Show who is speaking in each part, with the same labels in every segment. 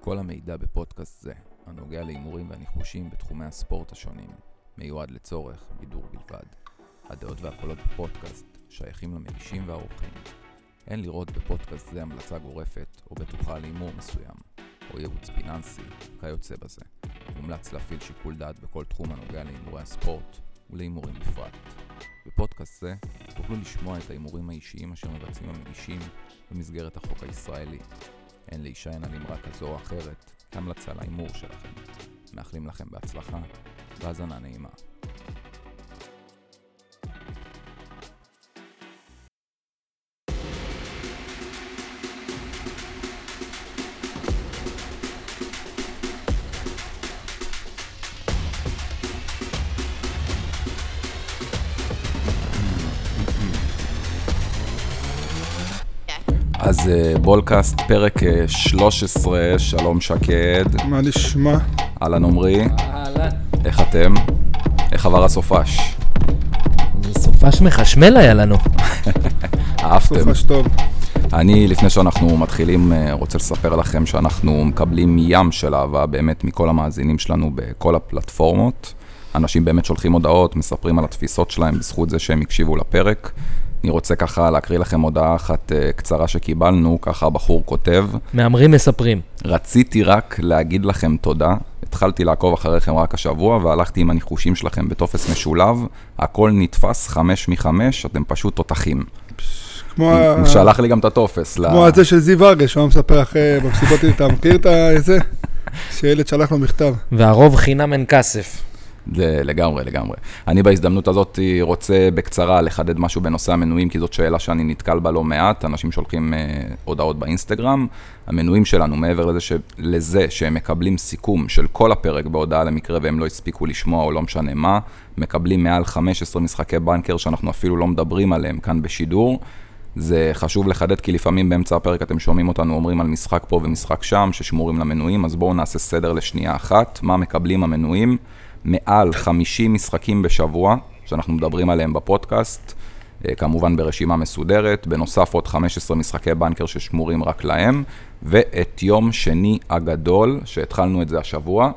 Speaker 1: כל המידע בפודקאסט זה, הנוגע להימורים והניחושים בתחומי הספורט השונים, מיועד לצורך בידור בלבד. הדעות והקולות בפודקאסט שייכים למגישים והאורחים. אין לראות בפודקאסט זה המלצה גורפת או בטוחה להימור מסוים, או ייעוץ פיננסי, כיוצא בזה. מומלץ להפעיל שיקול דעת בכל תחום הנוגע להימורי הספורט ולהימורים בפרט. בפודקאסט זה תוכלו לשמוע את ההימורים האישיים אשר מבצעים המגישים במסגרת החוק הישראלי. אין להישען על אמרה כזו או אחרת כהמלצה להימור שלכם. מאחלים לכם בהצלחה והאזנה נעימה. אז אה, בולקאסט, פרק אה, 13, שלום שקד,
Speaker 2: מה נשמע?
Speaker 1: אהלן עמרי,
Speaker 3: אהלן.
Speaker 1: איך אתם? איך עבר הסופש?
Speaker 3: סופש מחשמל היה לנו.
Speaker 1: אהבתם?
Speaker 2: סופש טוב.
Speaker 1: אני, לפני שאנחנו מתחילים, אה, רוצה לספר לכם שאנחנו מקבלים ים של אהבה באמת מכל המאזינים שלנו בכל הפלטפורמות. אנשים באמת שולחים הודעות, מספרים על התפיסות שלהם בזכות זה שהם הקשיבו לפרק. אני רוצה ככה להקריא לכם הודעה אחת אה, קצרה שקיבלנו, ככה הבחור כותב.
Speaker 3: מהמרים מספרים.
Speaker 1: רציתי רק להגיד לכם תודה. התחלתי לעקוב אחריכם רק השבוע, והלכתי עם הניחושים שלכם בטופס משולב. הכל נתפס חמש מחמש, אתם פשוט תותחים.
Speaker 2: כמו ה-
Speaker 1: הוא שלח לי גם את הטופס. ל-
Speaker 2: כמו הזה של זיו ארגה, שהוא היה מספר אחרי במסיבות, אתה מכיר את ה- זה? שילד שלח לו מכתב.
Speaker 3: והרוב חינם אין כסף.
Speaker 1: זה לגמרי, לגמרי. אני בהזדמנות הזאת רוצה בקצרה לחדד משהו בנושא המנויים, כי זאת שאלה שאני נתקל בה לא מעט. אנשים שולחים אה, הודעות באינסטגרם. המנויים שלנו, מעבר לזה, ש... לזה שהם מקבלים סיכום של כל הפרק בהודעה למקרה והם לא הספיקו לשמוע או לא משנה מה, מקבלים מעל 15 משחקי בנקר שאנחנו אפילו לא מדברים עליהם כאן בשידור. זה חשוב לחדד, כי לפעמים באמצע הפרק אתם שומעים אותנו אומרים על משחק פה ומשחק שם, ששמורים למנויים, אז בואו נעשה סדר לשנייה אחת. מה מקבלים המנויים? מעל 50 משחקים בשבוע, שאנחנו מדברים עליהם בפודקאסט, אה, כמובן ברשימה מסודרת, בנוסף עוד 15 משחקי בנקר ששמורים רק להם, ואת יום שני הגדול, שהתחלנו את זה השבוע,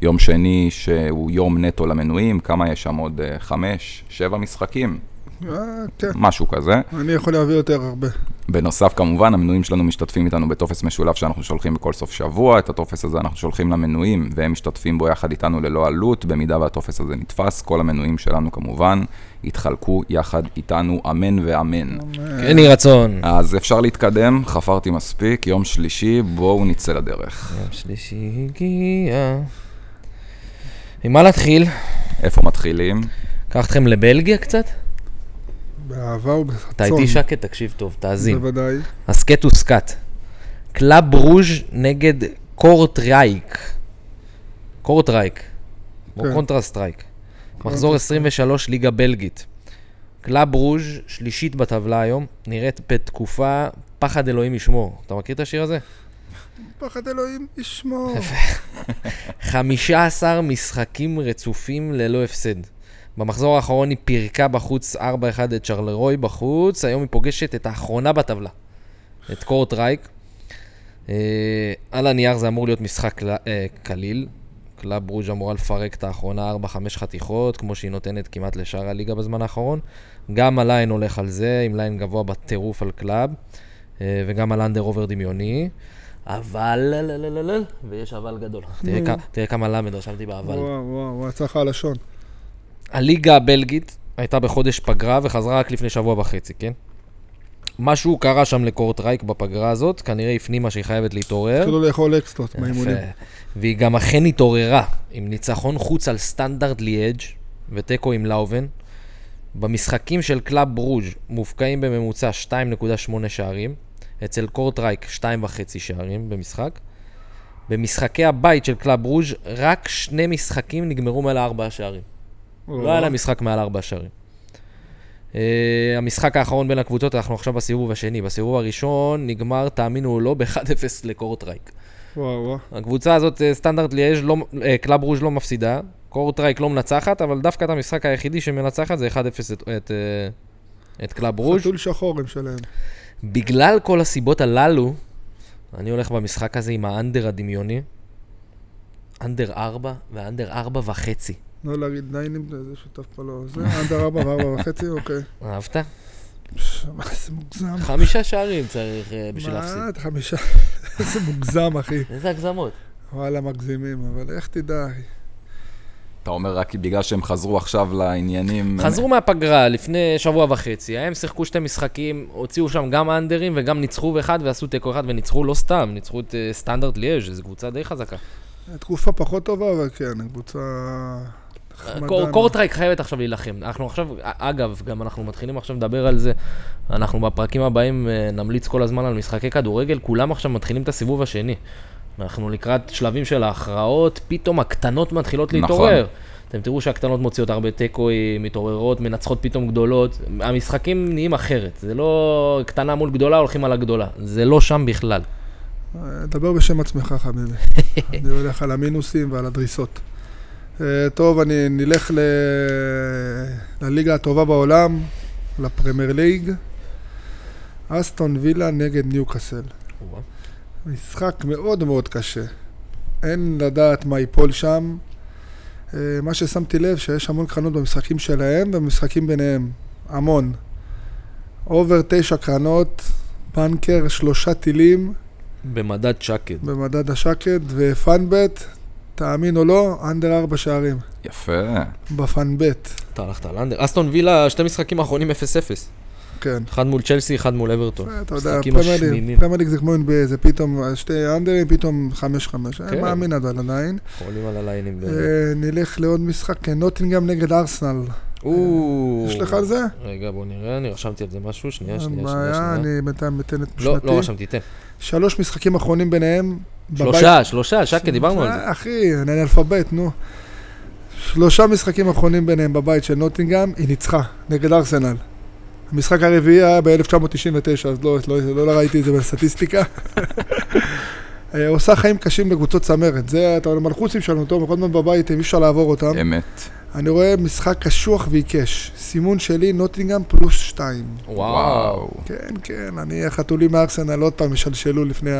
Speaker 1: יום שני שהוא יום נטו למנויים, כמה יש שם עוד? אה, חמש, שבע משחקים,
Speaker 2: אה, כן,
Speaker 1: משהו כזה.
Speaker 2: אני יכול להביא יותר הרבה.
Speaker 1: בנוסף, כמובן, המנויים שלנו משתתפים איתנו בטופס משולב שאנחנו שולחים בכל סוף שבוע. את הטופס הזה אנחנו שולחים למנויים, והם משתתפים בו יחד איתנו ללא עלות. במידה והטופס הזה נתפס, כל המנויים שלנו כמובן יתחלקו יחד איתנו, אמן ואמן.
Speaker 2: אה.
Speaker 3: כן יהי רצון.
Speaker 1: אז אפשר להתקדם, חפרתי מספיק, יום שלישי, בואו נצא לדרך.
Speaker 3: יום שלישי הגיע. ממה להתחיל?
Speaker 1: איפה מתחילים?
Speaker 3: אקח אתכם לבלגיה קצת?
Speaker 2: באהבה ובחצון.
Speaker 3: אתה איתי שקט, תקשיב טוב, תאזין.
Speaker 2: בוודאי.
Speaker 3: הסכת וסקת. קלאב ברוז' נגד קורטרייק. קורטרייק. או
Speaker 2: כן.
Speaker 3: קונטרסטרייק. מחזור 23, ליגה בלגית. קלאב ברוז' שלישית בטבלה היום, נראית בתקופה פחד אלוהים ישמור. אתה מכיר את השיר הזה?
Speaker 2: פחד אלוהים ישמור.
Speaker 3: 15 משחקים רצופים ללא הפסד. במחזור האחרון היא פירקה בחוץ 4-1 את שרלרוי בחוץ, היום היא פוגשת את האחרונה בטבלה, את קורט רייק. אה, על הנייר זה אמור להיות משחק קל- אה, קליל. קלאב ברוז' אמורה לפרק את האחרונה 4-5 חתיכות, כמו שהיא נותנת כמעט לשאר הליגה בזמן האחרון. גם הליין הולך על זה, עם ליין גבוה בטירוף על קלאב, אה, וגם על אנדר אובר דמיוני. אבל, ויש אבל גדול. תראה כ- תראה כמה למד רשמתי באבל.
Speaker 2: וואו, וואו, וואו, יצא לך הלשון.
Speaker 3: כן. הליגה הבלגית הייתה בחודש פגרה וחזרה רק לפני שבוע וחצי, כן? משהו קרה שם לקורטרייק בפגרה הזאת, כנראה הפנימה שהיא חייבת להתעורר.
Speaker 2: התחילו לאכול אקסטרות
Speaker 3: יפה.
Speaker 2: לא מהאימונים.
Speaker 3: והיא גם אכן התעוררה, עם ניצחון חוץ על סטנדרט ליאג' ותיקו עם לאובן. במשחקים של קלאב ברוז' מופקעים בממוצע 2.8 שערים, אצל קורטרייק 2.5 שערים במשחק. במשחקי הבית של קלאב ברוז' רק שני משחקים נגמרו מעל ארבעה שערים. לא היה להם משחק מעל ארבע שערים. Uh, המשחק האחרון בין הקבוצות, אנחנו עכשיו בסיבוב השני. בסיבוב הראשון נגמר, תאמינו או לא, ב-1-0 לקורטרייק.
Speaker 2: וואו, וואו.
Speaker 3: הקבוצה הזאת, אה, סטנדרט ליאז' לא, אה, קלאב רוז' לא מפסידה, קורטרייק לא מנצחת, אבל דווקא את המשחק היחידי שמנצחת זה 1-0 את, את, אה, את קלאב רוז'.
Speaker 2: חתול שחור הם שלהם.
Speaker 3: בגלל כל הסיבות הללו, אני הולך במשחק הזה עם האנדר הדמיוני, אנדר 4 ואנדר 4 וחצי.
Speaker 2: לא להגיד ניינים, זה שותף פה לא... זה אנדר ארבע וארבע וחצי, אוקיי.
Speaker 3: אהבת?
Speaker 2: פש, מה זה מוגזם.
Speaker 3: חמישה שערים צריך אה, בשביל להפסיד.
Speaker 2: מה, את חמישה? איזה מוגזם, אחי.
Speaker 3: איזה הגזמות.
Speaker 2: וואלה, מגזימים, אבל איך תדע, אחי?
Speaker 1: אתה אומר רק בגלל שהם חזרו עכשיו לעניינים...
Speaker 3: חזרו מהפגרה לפני שבוע וחצי, הם שיחקו שתי משחקים, הוציאו שם גם אנדרים וגם ניצחו אחד ועשו תיקו אחד וניצחו לא סתם, ניצחו את אה, סטנדרט ליאז', זו קבוצה די חזקה.
Speaker 2: תקופה פחות טובה, אבל כן, קבוצה... נחמדה.
Speaker 3: קור- קורטרייק חייבת עכשיו להילחם. אנחנו עכשיו, אגב, גם אנחנו מתחילים עכשיו לדבר על זה. אנחנו בפרקים הבאים אה, נמליץ כל הזמן על משחקי כדורגל, כולם עכשיו מתחילים את הסיבוב השני. אנחנו לקראת שלבים של ההכרעות, פתאום הקטנות מתחילות
Speaker 1: נכון.
Speaker 3: להתעורר. אתם תראו שהקטנות מוציאות הרבה תיקואים, מתעוררות, מנצחות פתאום גדולות. המשחקים נהיים אחרת. זה לא קטנה מול גדולה, הולכים על הגדולה. זה לא שם בכלל.
Speaker 2: אה, דבר בשם עצמך, חביבי. אני הולך על המינוסים ועל הדריסות. אה, טוב, אני נלך ל... לליגה הטובה בעולם, לפרמייר ליג. אסטון וילה נגד ניוקאסל. משחק מאוד מאוד קשה. אין לדעת מה ייפול שם. אה, מה ששמתי לב, שיש המון קרנות במשחקים שלהם ובמשחקים ביניהם. המון. אובר תשע קרנות, פנקר, שלושה טילים
Speaker 3: במדד שקד.
Speaker 2: במדד השקד ופאנבט, תאמין או לא, אנדר ארבע שערים.
Speaker 1: יפה.
Speaker 2: בפאנבט,
Speaker 3: אתה הלכת על אנדר. אסטון וילה, שתי משחקים האחרונים 0-0.
Speaker 2: כן.
Speaker 3: אחד מול צ'לסי, אחד מול אברטון.
Speaker 2: אתה יודע,
Speaker 3: משחקים
Speaker 2: פרמייר ליג-
Speaker 3: משמימים.
Speaker 2: פרמייר ליג זה כמו NBA, זה פתאום שתי אנדרים, פתאום חמש חמש.
Speaker 3: כן.
Speaker 2: אני מאמין אבל עדיין.
Speaker 3: עולים על הליינים. ב-
Speaker 2: אה, נלך לעוד משחק, אה, נוטינגהאם נגד ארסנל.
Speaker 3: או.
Speaker 2: יש לך על זה?
Speaker 3: רגע, בוא נראה, אני רשמתי על זה משהו, שנייה, שנייה, שנייה,
Speaker 2: בעיה,
Speaker 3: שנייה.
Speaker 2: אני בינתיים אתן את
Speaker 3: לא, לא
Speaker 2: משנתי.
Speaker 3: רשמתי, תן.
Speaker 2: שלוש משחקים אחרונים ביניהם. בבית-
Speaker 3: שלושה, שלושה, שקד, דיברנו על זה.
Speaker 2: אה, אחי, אני אלפבית, נו. שלושה משחקים אחרונים ביניהם בבית של נוטינגאם, היא ניצחה, נגד ארסנל. המשחק הרביעי היה ב-1999, אז לא, לא, לא ראיתי את זה בסטטיסטיקה. אה, עושה חיים קשים לקבוצות צמרת, זה, אתה מלחוצים שלנו, טוב, כל הזמן בבית, אי אפשר לעבור אותם.
Speaker 3: כן.
Speaker 1: אמת.
Speaker 2: אני רואה משחק קשוח ועיקש. סימון שלי, נוטינגאם פלוס שתיים.
Speaker 3: וואו,
Speaker 2: כן, כן, אני, החתולים מארסנל עוד פעם ישלשלו לפני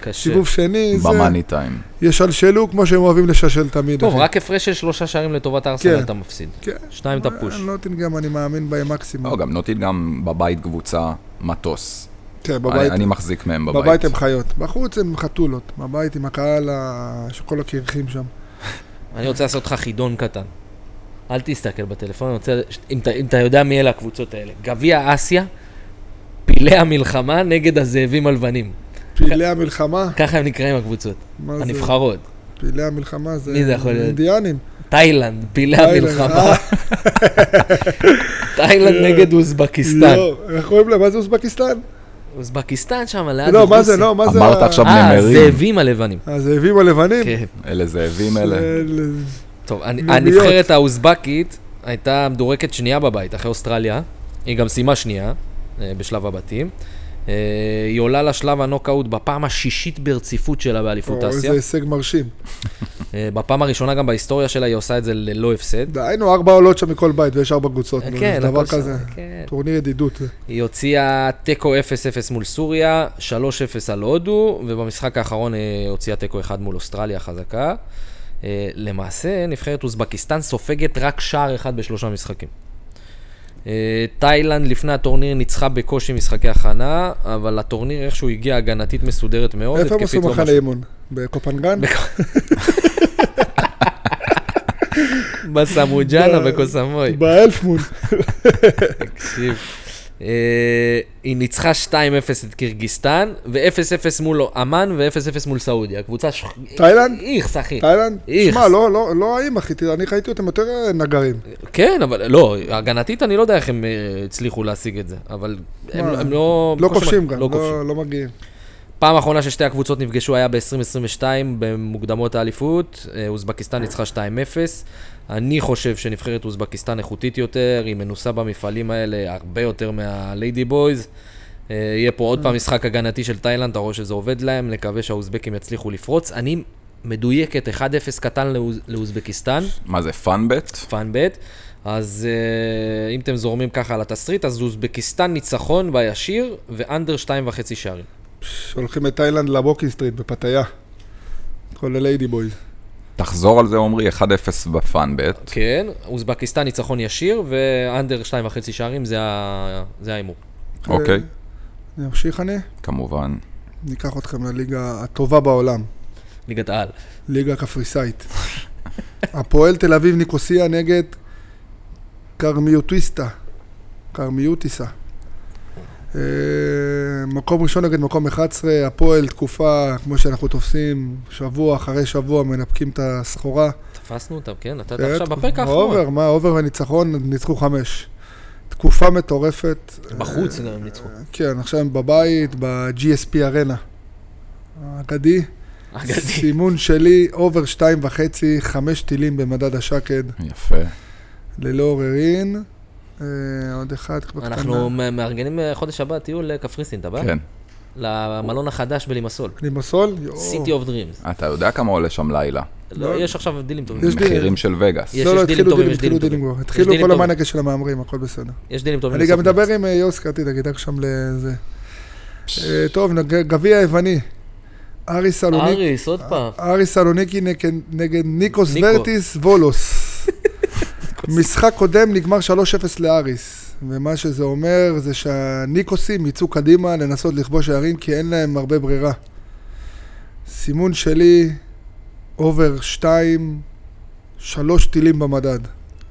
Speaker 3: קשה.
Speaker 2: הסיבוב שני, זה,
Speaker 1: במאני טיים.
Speaker 2: ישלשלו כמו שהם אוהבים לשלשל תמיד.
Speaker 3: טוב,
Speaker 2: אחי.
Speaker 3: רק הפרש של שלושה שערים לטובת ארסנל
Speaker 2: כן.
Speaker 3: אתה מפסיד.
Speaker 2: כן.
Speaker 3: שניים אתה פוש.
Speaker 2: נוטינגאם, אני מאמין בהם מקסימום.
Speaker 1: לא, גם נוטין גם בבית קבוצה מטוס.
Speaker 2: כן,
Speaker 1: בבית.
Speaker 2: בבית.
Speaker 1: אני מחזיק מהם בבית.
Speaker 2: בבית הם חיות, בחוץ הם חתולות, בבית עם הקהל, ה- שכל הקרחים שם. אה.
Speaker 3: אני רוצה לעשות לך חידון קטן. אל תסתכל בטלפון, אני רוצה, אם אתה- אם אתה יודע מי אלה הקבוצות האלה. גביע אסיה, פילי המלחמה נגד הזאבים הלבנים.
Speaker 2: פעילי
Speaker 3: כן.
Speaker 2: המלחמה,
Speaker 3: ככה הם נקראים הקבוצות,
Speaker 2: מה זה?
Speaker 3: הנבחרות.
Speaker 2: פעילי המלחמה זה
Speaker 3: מי זה יכול להיות?
Speaker 2: אינדיאנים.
Speaker 3: תאילנד, פילי
Speaker 2: תאילנד,
Speaker 3: המלחמה.
Speaker 2: אה?
Speaker 3: תאילנד נגד אוזבקיסטן.
Speaker 2: לא, איך קוראים להם? מה זה אוזבקיסטן?
Speaker 3: אוזבקיסטן שם ליד
Speaker 2: לא, מה
Speaker 3: רוסיה.
Speaker 2: זה, לא, מה זה...
Speaker 1: אמרת
Speaker 2: ה-
Speaker 1: עכשיו
Speaker 3: אה,
Speaker 1: נמרים.
Speaker 3: הזאבים הלבנים.
Speaker 2: הזאבים הלבנים?
Speaker 3: כן.
Speaker 1: אלה זאבים אלה.
Speaker 2: של-
Speaker 3: טוב, אני-
Speaker 2: לאומיות.
Speaker 3: הנבחרת האוזבקית הייתה מדורגת שנייה בבית, אחרי אוסטרליה. היא גם סיימה שנייה אה, בשלב הבתים. אה, היא עולה לשלב הנוקאוט בפעם השישית ברציפות שלה באליפות
Speaker 2: או,
Speaker 3: אסיה.
Speaker 2: איזה הישג מרשים.
Speaker 3: אה, בפעם הראשונה גם בהיסטוריה שלה היא עושה את זה ללא הפסד.
Speaker 2: דהיינו, ארבע עולות שם מכל בית ויש ארבע קבוצות.
Speaker 3: אה,
Speaker 2: נו,
Speaker 3: כן,
Speaker 2: דבר
Speaker 3: הכל שם,
Speaker 2: כזה.
Speaker 3: כן.
Speaker 2: טורניר ידידות. זה.
Speaker 3: היא הוציאה תיקו 0-0 מול סוריה, 3-0 על הודו, ובמשחק האחרון אה, הוציאה תיקו 1 מול אוסטרליה החזקה. אה, למעשה, נבחרת אוזבקיסטן סופגת רק שער אחד בשלושה משחקים. אה, תאילנד לפני הטורניר ניצחה בקושי משחקי הכנה, אבל הטורניר איכשהו הגיע הגנתית מסודרת מאוד,
Speaker 2: איפה הם עשו
Speaker 3: התקפית לא
Speaker 2: מחנה
Speaker 3: משהו.
Speaker 2: אימון? בקופנגן?
Speaker 3: בסמוג'אנה
Speaker 2: ב-
Speaker 3: וקוסמוי.
Speaker 2: באלפמון.
Speaker 3: תקשיב. אה, היא ניצחה 2-0 את קירגיסטן, ו-0-0 מול אמן ו-0-0 מול סעודיה. קבוצה ש...
Speaker 2: תאילנד?
Speaker 3: איכס, אחי.
Speaker 2: תאילנד?
Speaker 3: איך.
Speaker 2: שמע, לא, לא, לא האם, אחי, תראה, אני ראיתי אותם יותר אה, נגרים.
Speaker 3: כן, אבל לא, הגנתית אני לא יודע איך הם אה, הצליחו להשיג את זה, אבל הם,
Speaker 2: מה,
Speaker 3: הם לא...
Speaker 2: לא
Speaker 3: בקושי
Speaker 2: כובשים
Speaker 3: מה-
Speaker 2: גם,
Speaker 3: לא כובשים.
Speaker 2: לא לא מגיעים.
Speaker 3: פעם האחרונה ששתי הקבוצות נפגשו היה ב-2022 במוקדמות האליפות, אה, אוזבקיסטן ניצחה 2-0. אני חושב שנבחרת אוזבקיסטן איכותית יותר, היא מנוסה במפעלים האלה הרבה יותר מהליידי בויז. אה, יהיה פה עוד פעם משחק הגנתי של תאילנד, אתה רואה שזה עובד להם, נקווה שהאוזבקים יצליחו לפרוץ. אני מדויקת 1-0 קטן לאוז- לאוזבקיסטן.
Speaker 1: מה זה, פאנבט?
Speaker 3: פאן ב', אז אה, אם אתם זורמים ככה על התסריט, אז אוזבקיסטן ניצחון בישיר ואנדר שתיים וחצי שערים.
Speaker 2: הולכים לתאילנד לבוקינג סטריט בפתאיה. כל הליידי בויז.
Speaker 1: תחזור על זה, עומרי, 1-0 בפאנבט.
Speaker 2: אוקיי.
Speaker 3: כן, אוזבקיסטן ניצחון ישיר, ואנדר 2.5 שערים, זה ה- זה ההימור.
Speaker 1: אוקיי,
Speaker 2: אני אמשיך אה, אני?
Speaker 1: כמובן.
Speaker 2: ניקח אתכם לליגה הטובה בעולם,
Speaker 3: ליגת העל.
Speaker 2: ליגה קפריסאית. הפועל תל אביב ניקוסיה נגד קרמיוטיסטה. קרמיוטיסה. אה, מקום ראשון נגד מקום 11, הפועל תקופה, כמו שאנחנו תופסים, שבוע אחרי שבוע מנפקים את הסחורה.
Speaker 3: תפסנו אותם, כן? אתה
Speaker 2: כן,
Speaker 3: עכשיו בפרק האחרון.
Speaker 2: אובר, מה, אובר וניצחון, ניצחו חמש. תקופה מטורפת.
Speaker 3: בחוץ גם הם ניצחו.
Speaker 2: כן, עכשיו הם בבית, ב-GSP ארנה. האגדי. אה,
Speaker 3: אגדי.
Speaker 2: סימון שלי, אובר שתיים וחצי, חמש טילים במדד השקד,
Speaker 1: יפה.
Speaker 2: ללא עוררין. אה, עוד אחד כבר
Speaker 3: אנחנו מ- מארגנים אה, חודש הבא טיול לקפריסין, אתה בא?
Speaker 1: כן.
Speaker 3: למלון החדש בלימסול.
Speaker 2: אני לא, בסול?
Speaker 3: סיטי אוף דרימס.
Speaker 1: אתה יודע כמה עולה שם לילה.
Speaker 3: לא, יש עכשיו דילים טובים.
Speaker 2: יש דיל.
Speaker 1: מחירים של וגאס.
Speaker 3: יש-
Speaker 2: לא, לא,
Speaker 3: דילים
Speaker 2: התחילו
Speaker 3: טובים,
Speaker 2: דילים,
Speaker 3: יש דילים
Speaker 2: התחילו דילים
Speaker 3: טובים.
Speaker 2: כבר.
Speaker 3: יש
Speaker 2: התחילו
Speaker 3: דילים
Speaker 2: כל
Speaker 3: טובים.
Speaker 2: המענקה של המהמרים, הכל בסדר.
Speaker 3: יש דילים טובים.
Speaker 2: אני גם
Speaker 3: לסוף מרץ.
Speaker 2: מדבר עם אה, יוסק, אל תדאג, ידאג שם לזה. אה, טוב, נג- גביע יווני. ארי סלוניקי.
Speaker 3: אריס, עוד פעם.
Speaker 2: ארי סלוניקי נגד- נגד ניקוס
Speaker 3: ניקו.
Speaker 2: ורטיס וולוס. משחק קודם נגמר 3-0 לאריס, ומה שזה אומר זה שהניקוסים יצאו קדימה לנסות לכבוש שערים כי אין להם הרבה ברירה. סימון שלי, אובר 2, 3 טילים במדד.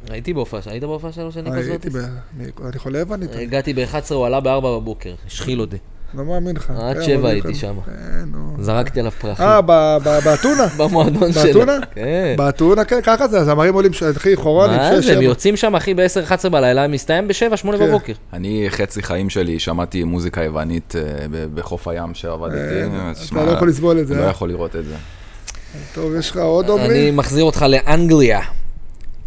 Speaker 3: הייתי בהופעה, ש- היית בהופעה שלו של ניקוס
Speaker 2: הייתי
Speaker 3: ורטיס? אה,
Speaker 2: ב... אני- אני חולה יוונית, אני
Speaker 3: הגעתי ב-11, הוא עלה ב-4 בבוקר, השחיל אותי.
Speaker 2: לא מאמין לך.
Speaker 3: עד
Speaker 2: כן,
Speaker 3: שבע
Speaker 2: אבל
Speaker 3: הייתי
Speaker 2: כן.
Speaker 3: שם.
Speaker 2: כן, נו.
Speaker 3: זרקתי עליו פרחים.
Speaker 2: אה, ב- ב- באתונה?
Speaker 3: במועדון שלו.
Speaker 2: באתונה?
Speaker 3: כן.
Speaker 2: באתונה, כן, ככה זה, הזמרים עולים, ש- אחי, חורונים,
Speaker 3: מה
Speaker 2: שש,
Speaker 3: זה, הם
Speaker 2: שבע.
Speaker 3: יוצאים שם, אחי, ב-10-11 בלילה, מסתיים ב-7, 8
Speaker 2: כן.
Speaker 3: בבוקר.
Speaker 1: אני חצי חיים שלי שמעתי מוזיקה יוונית אה, ב- בחוף הים שעבדתי.
Speaker 2: אה,
Speaker 1: אז שמע,
Speaker 2: אתה לא יכול לסבול את
Speaker 1: לא
Speaker 2: זה. אה?
Speaker 1: יכול לראות את זה.
Speaker 2: טוב, יש לך עוד
Speaker 3: אני
Speaker 2: עוברים?
Speaker 3: מחזיר אותך לאנגליה.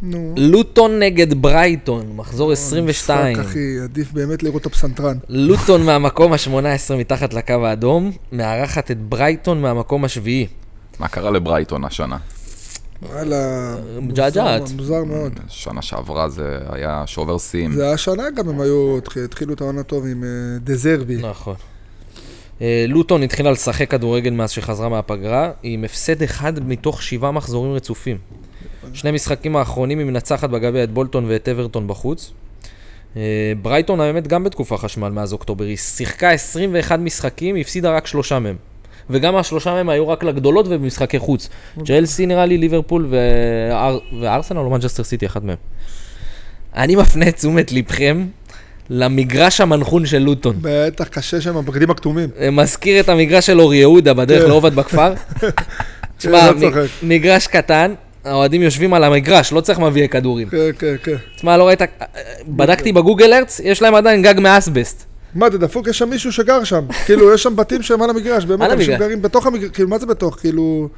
Speaker 2: נו.
Speaker 3: לוטון נגד ברייטון, מחזור 22.
Speaker 2: אה, משחק, אחי, עדיף באמת לראות את הפסנתרן.
Speaker 3: לוטון מהמקום ה-18 מתחת לקו האדום, מארחת את ברייטון מהמקום השביעי.
Speaker 1: מה קרה לברייטון השנה?
Speaker 2: וואלה.
Speaker 3: מג'עג'עת.
Speaker 2: מוזר- מוזר מאוד.
Speaker 1: שנה שעברה זה היה שובר שיאים.
Speaker 2: זה השנה גם הם היו, התח- התחילו את העונה טוב עם אה, דזרבי.
Speaker 3: נכון. אה, לוטון התחילה לשחק כדורגל מאז שחזרה מהפגרה, היא עם הפסד אחד מתוך שבעה מחזורים רצופים. שני משחקים האחרונים היא מנצחת בגביע את בולטון ואת אברטון בחוץ. אה, ברייטון האמת גם בתקופה חשמל מאז אוקטובר, היא שיחקה 21 משחקים, היא הפסידה רק שלושה מהם. וגם השלושה מהם היו רק לגדולות ובמשחקי חוץ. ג'לסי נראה לי, ליברפול ואר- וארסנל או מנג'סטר סיטי, אחד מהם. אני מפנה את תשומת לבכם למגרש המנחון של לוטון.
Speaker 2: בטח קשה שם, הבגדים הכתומים.
Speaker 3: אה, מזכיר את המגרש של אור יהודה בדרך
Speaker 2: כן.
Speaker 3: לעובד בכפר. תשמע,
Speaker 2: לא צוחק.
Speaker 3: מ- מגרש קטן, האוהדים יושבים על המגרש, לא צריך מביאי כדורים.
Speaker 2: כן, כן, כן.
Speaker 3: תשמע, לא ראית... בדקתי בגוגל ארץ, יש להם עדיין גג מאסבסט.
Speaker 2: מה, זה דפוק? יש שם מישהו שגר שם. כאילו, יש שם בתים שהם על המגרש. באמת,
Speaker 3: על
Speaker 2: אנשים
Speaker 3: המגרש.
Speaker 2: גרים בתוך המגרש. כאילו, מה זה בתוך? כאילו...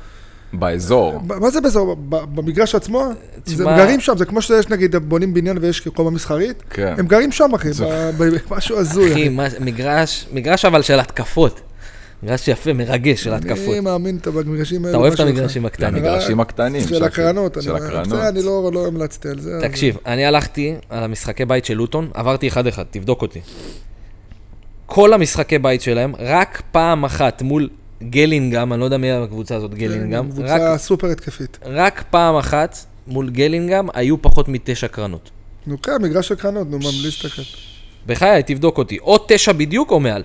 Speaker 1: באזור.
Speaker 2: ב- מה זה באזור? ב- במגרש עצמו?
Speaker 3: תשמע-
Speaker 2: זה- הם גרים שם, זה כמו שיש, נגיד, בונים בניין ויש קומה מסחרית.
Speaker 1: כן.
Speaker 2: הם גרים שם, אחי.
Speaker 1: זה-
Speaker 2: ב- ב- משהו הזוי.
Speaker 3: אחי, מה- מגרש, מגרש אבל של התקפות. מגרש יפה, מרגש של התקפות.
Speaker 2: אני מאמין אתה במגרשים האלה.
Speaker 3: אתה אוהב את
Speaker 2: משהו אחד.
Speaker 3: המגרשים הקטנים.
Speaker 1: המגרשים הקטנים.
Speaker 2: של הקרנות.
Speaker 1: של
Speaker 2: אני-
Speaker 1: הקרנות.
Speaker 2: זה, אני לא לא המלצתי על זה. אבל-
Speaker 3: תקשיב, אני הלכתי על המשחקי בית של לוטון, עברתי אחד-אחד, תבדוק אותי. כל המשחקי בית שלהם, רק פעם אחת מול גלינגהם, אני לא יודע מי הקבוצה הזאת, גלינגהם, רק
Speaker 2: כן, קבוצה סופר התקפית.
Speaker 3: רק פעם אחת מול גלינגהם היו פחות מתשע קרנות.
Speaker 2: נו כן, מגרש של קרנות, נו, מה, בלי להסתכל.
Speaker 3: בחיי, תבדוק אותי, או תשע בדיוק או מעל.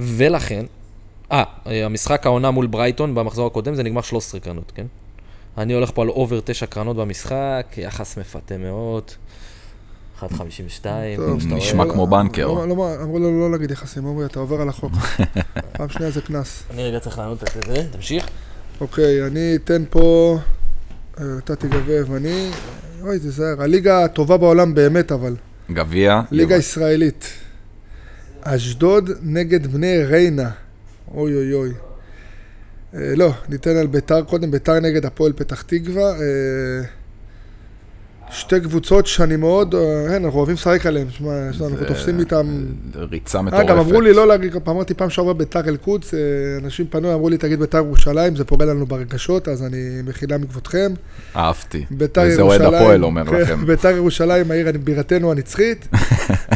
Speaker 3: ולכן, אה, המשחק העונה מול ברייטון במחזור הקודם זה נגמר 13 קרנות, כן? אני הולך פה על אובר תשע קרנות במשחק, יחס מפתה מאוד, 1.52. כן,
Speaker 2: טוב,
Speaker 1: נשמע
Speaker 2: אתה רואה,
Speaker 1: כמו
Speaker 2: לא-
Speaker 1: בנקר.
Speaker 2: לא- לא- אמרו לנו לא להגיד יחסים, עמרי, אתה עובר על החוק. פעם שנייה זה קנס.
Speaker 3: אני רגע צריך לענות את זה, תמשיך.
Speaker 2: אוקיי, אני אתן פה... אה, נתתי גביע יווני. אוי, תיזהר. הליגה הטובה בעולם באמת, אבל.
Speaker 1: גביע.
Speaker 2: ליגה ישראלית. אשדוד נגד בני ריינה. אוי אוי אוי. אה, לא, ניתן על ביתר קודם, ביתר נגד הפועל פתח תקווה. אה, שתי קבוצות שאני מאוד, אה, אין, אנחנו אוהבים לשחק עליהם, שמע, יש לנו- אנחנו
Speaker 1: זה-
Speaker 2: תופסים איתם.
Speaker 1: ריצה
Speaker 2: אה,
Speaker 1: מטורפת.
Speaker 2: גם אמרו לי לא להגיד, אמרתי פעם שעברה ביתר אל-קודס, אה, אנשים פנו, אמרו לי, תגיד ביתר ירושלים, זה פוגע לנו ברגשות, אז אני מחילה מכבודכם.
Speaker 1: אהבתי.
Speaker 2: ביתר
Speaker 1: וזה
Speaker 2: ירושלים.
Speaker 1: אוהד הפועל אומר
Speaker 2: כן,
Speaker 1: לכם.
Speaker 2: ביתר ירושלים, העיר הנ- בירתנו הנצחית.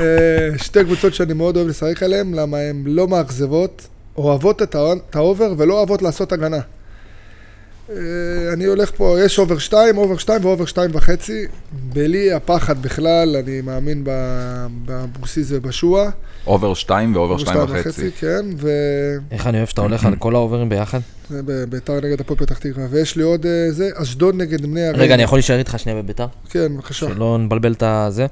Speaker 2: אה, שתי קבוצות שאני מאוד אוהב לשחק עליהן, למה הן לא מאכזבות. אוהבות את ה- את האובר ולא אוהבות לעשות הגנה. אה, אני הולך פה, יש אובר 2, אובר 2 ואובר 2 וחצי. בלי הפחד בכלל, אני מאמין ב- באבוקסיס ובשועה.
Speaker 1: אובר 2 ואובר
Speaker 2: אובר
Speaker 1: 2
Speaker 2: שתיים
Speaker 1: וחצי.
Speaker 2: כן,
Speaker 3: איך אני אוהב שאתה הולך על כל האוברים ביחד?
Speaker 2: וביתר נגד הפועל פתח תקווה. ויש לי עוד אה, זה, אשדוד נגד בני הרי.
Speaker 3: רגע, אני יכול להישאר איתך שנייה בביתר?
Speaker 2: כן, בבקשה.
Speaker 3: שלא נבלבל את הזה.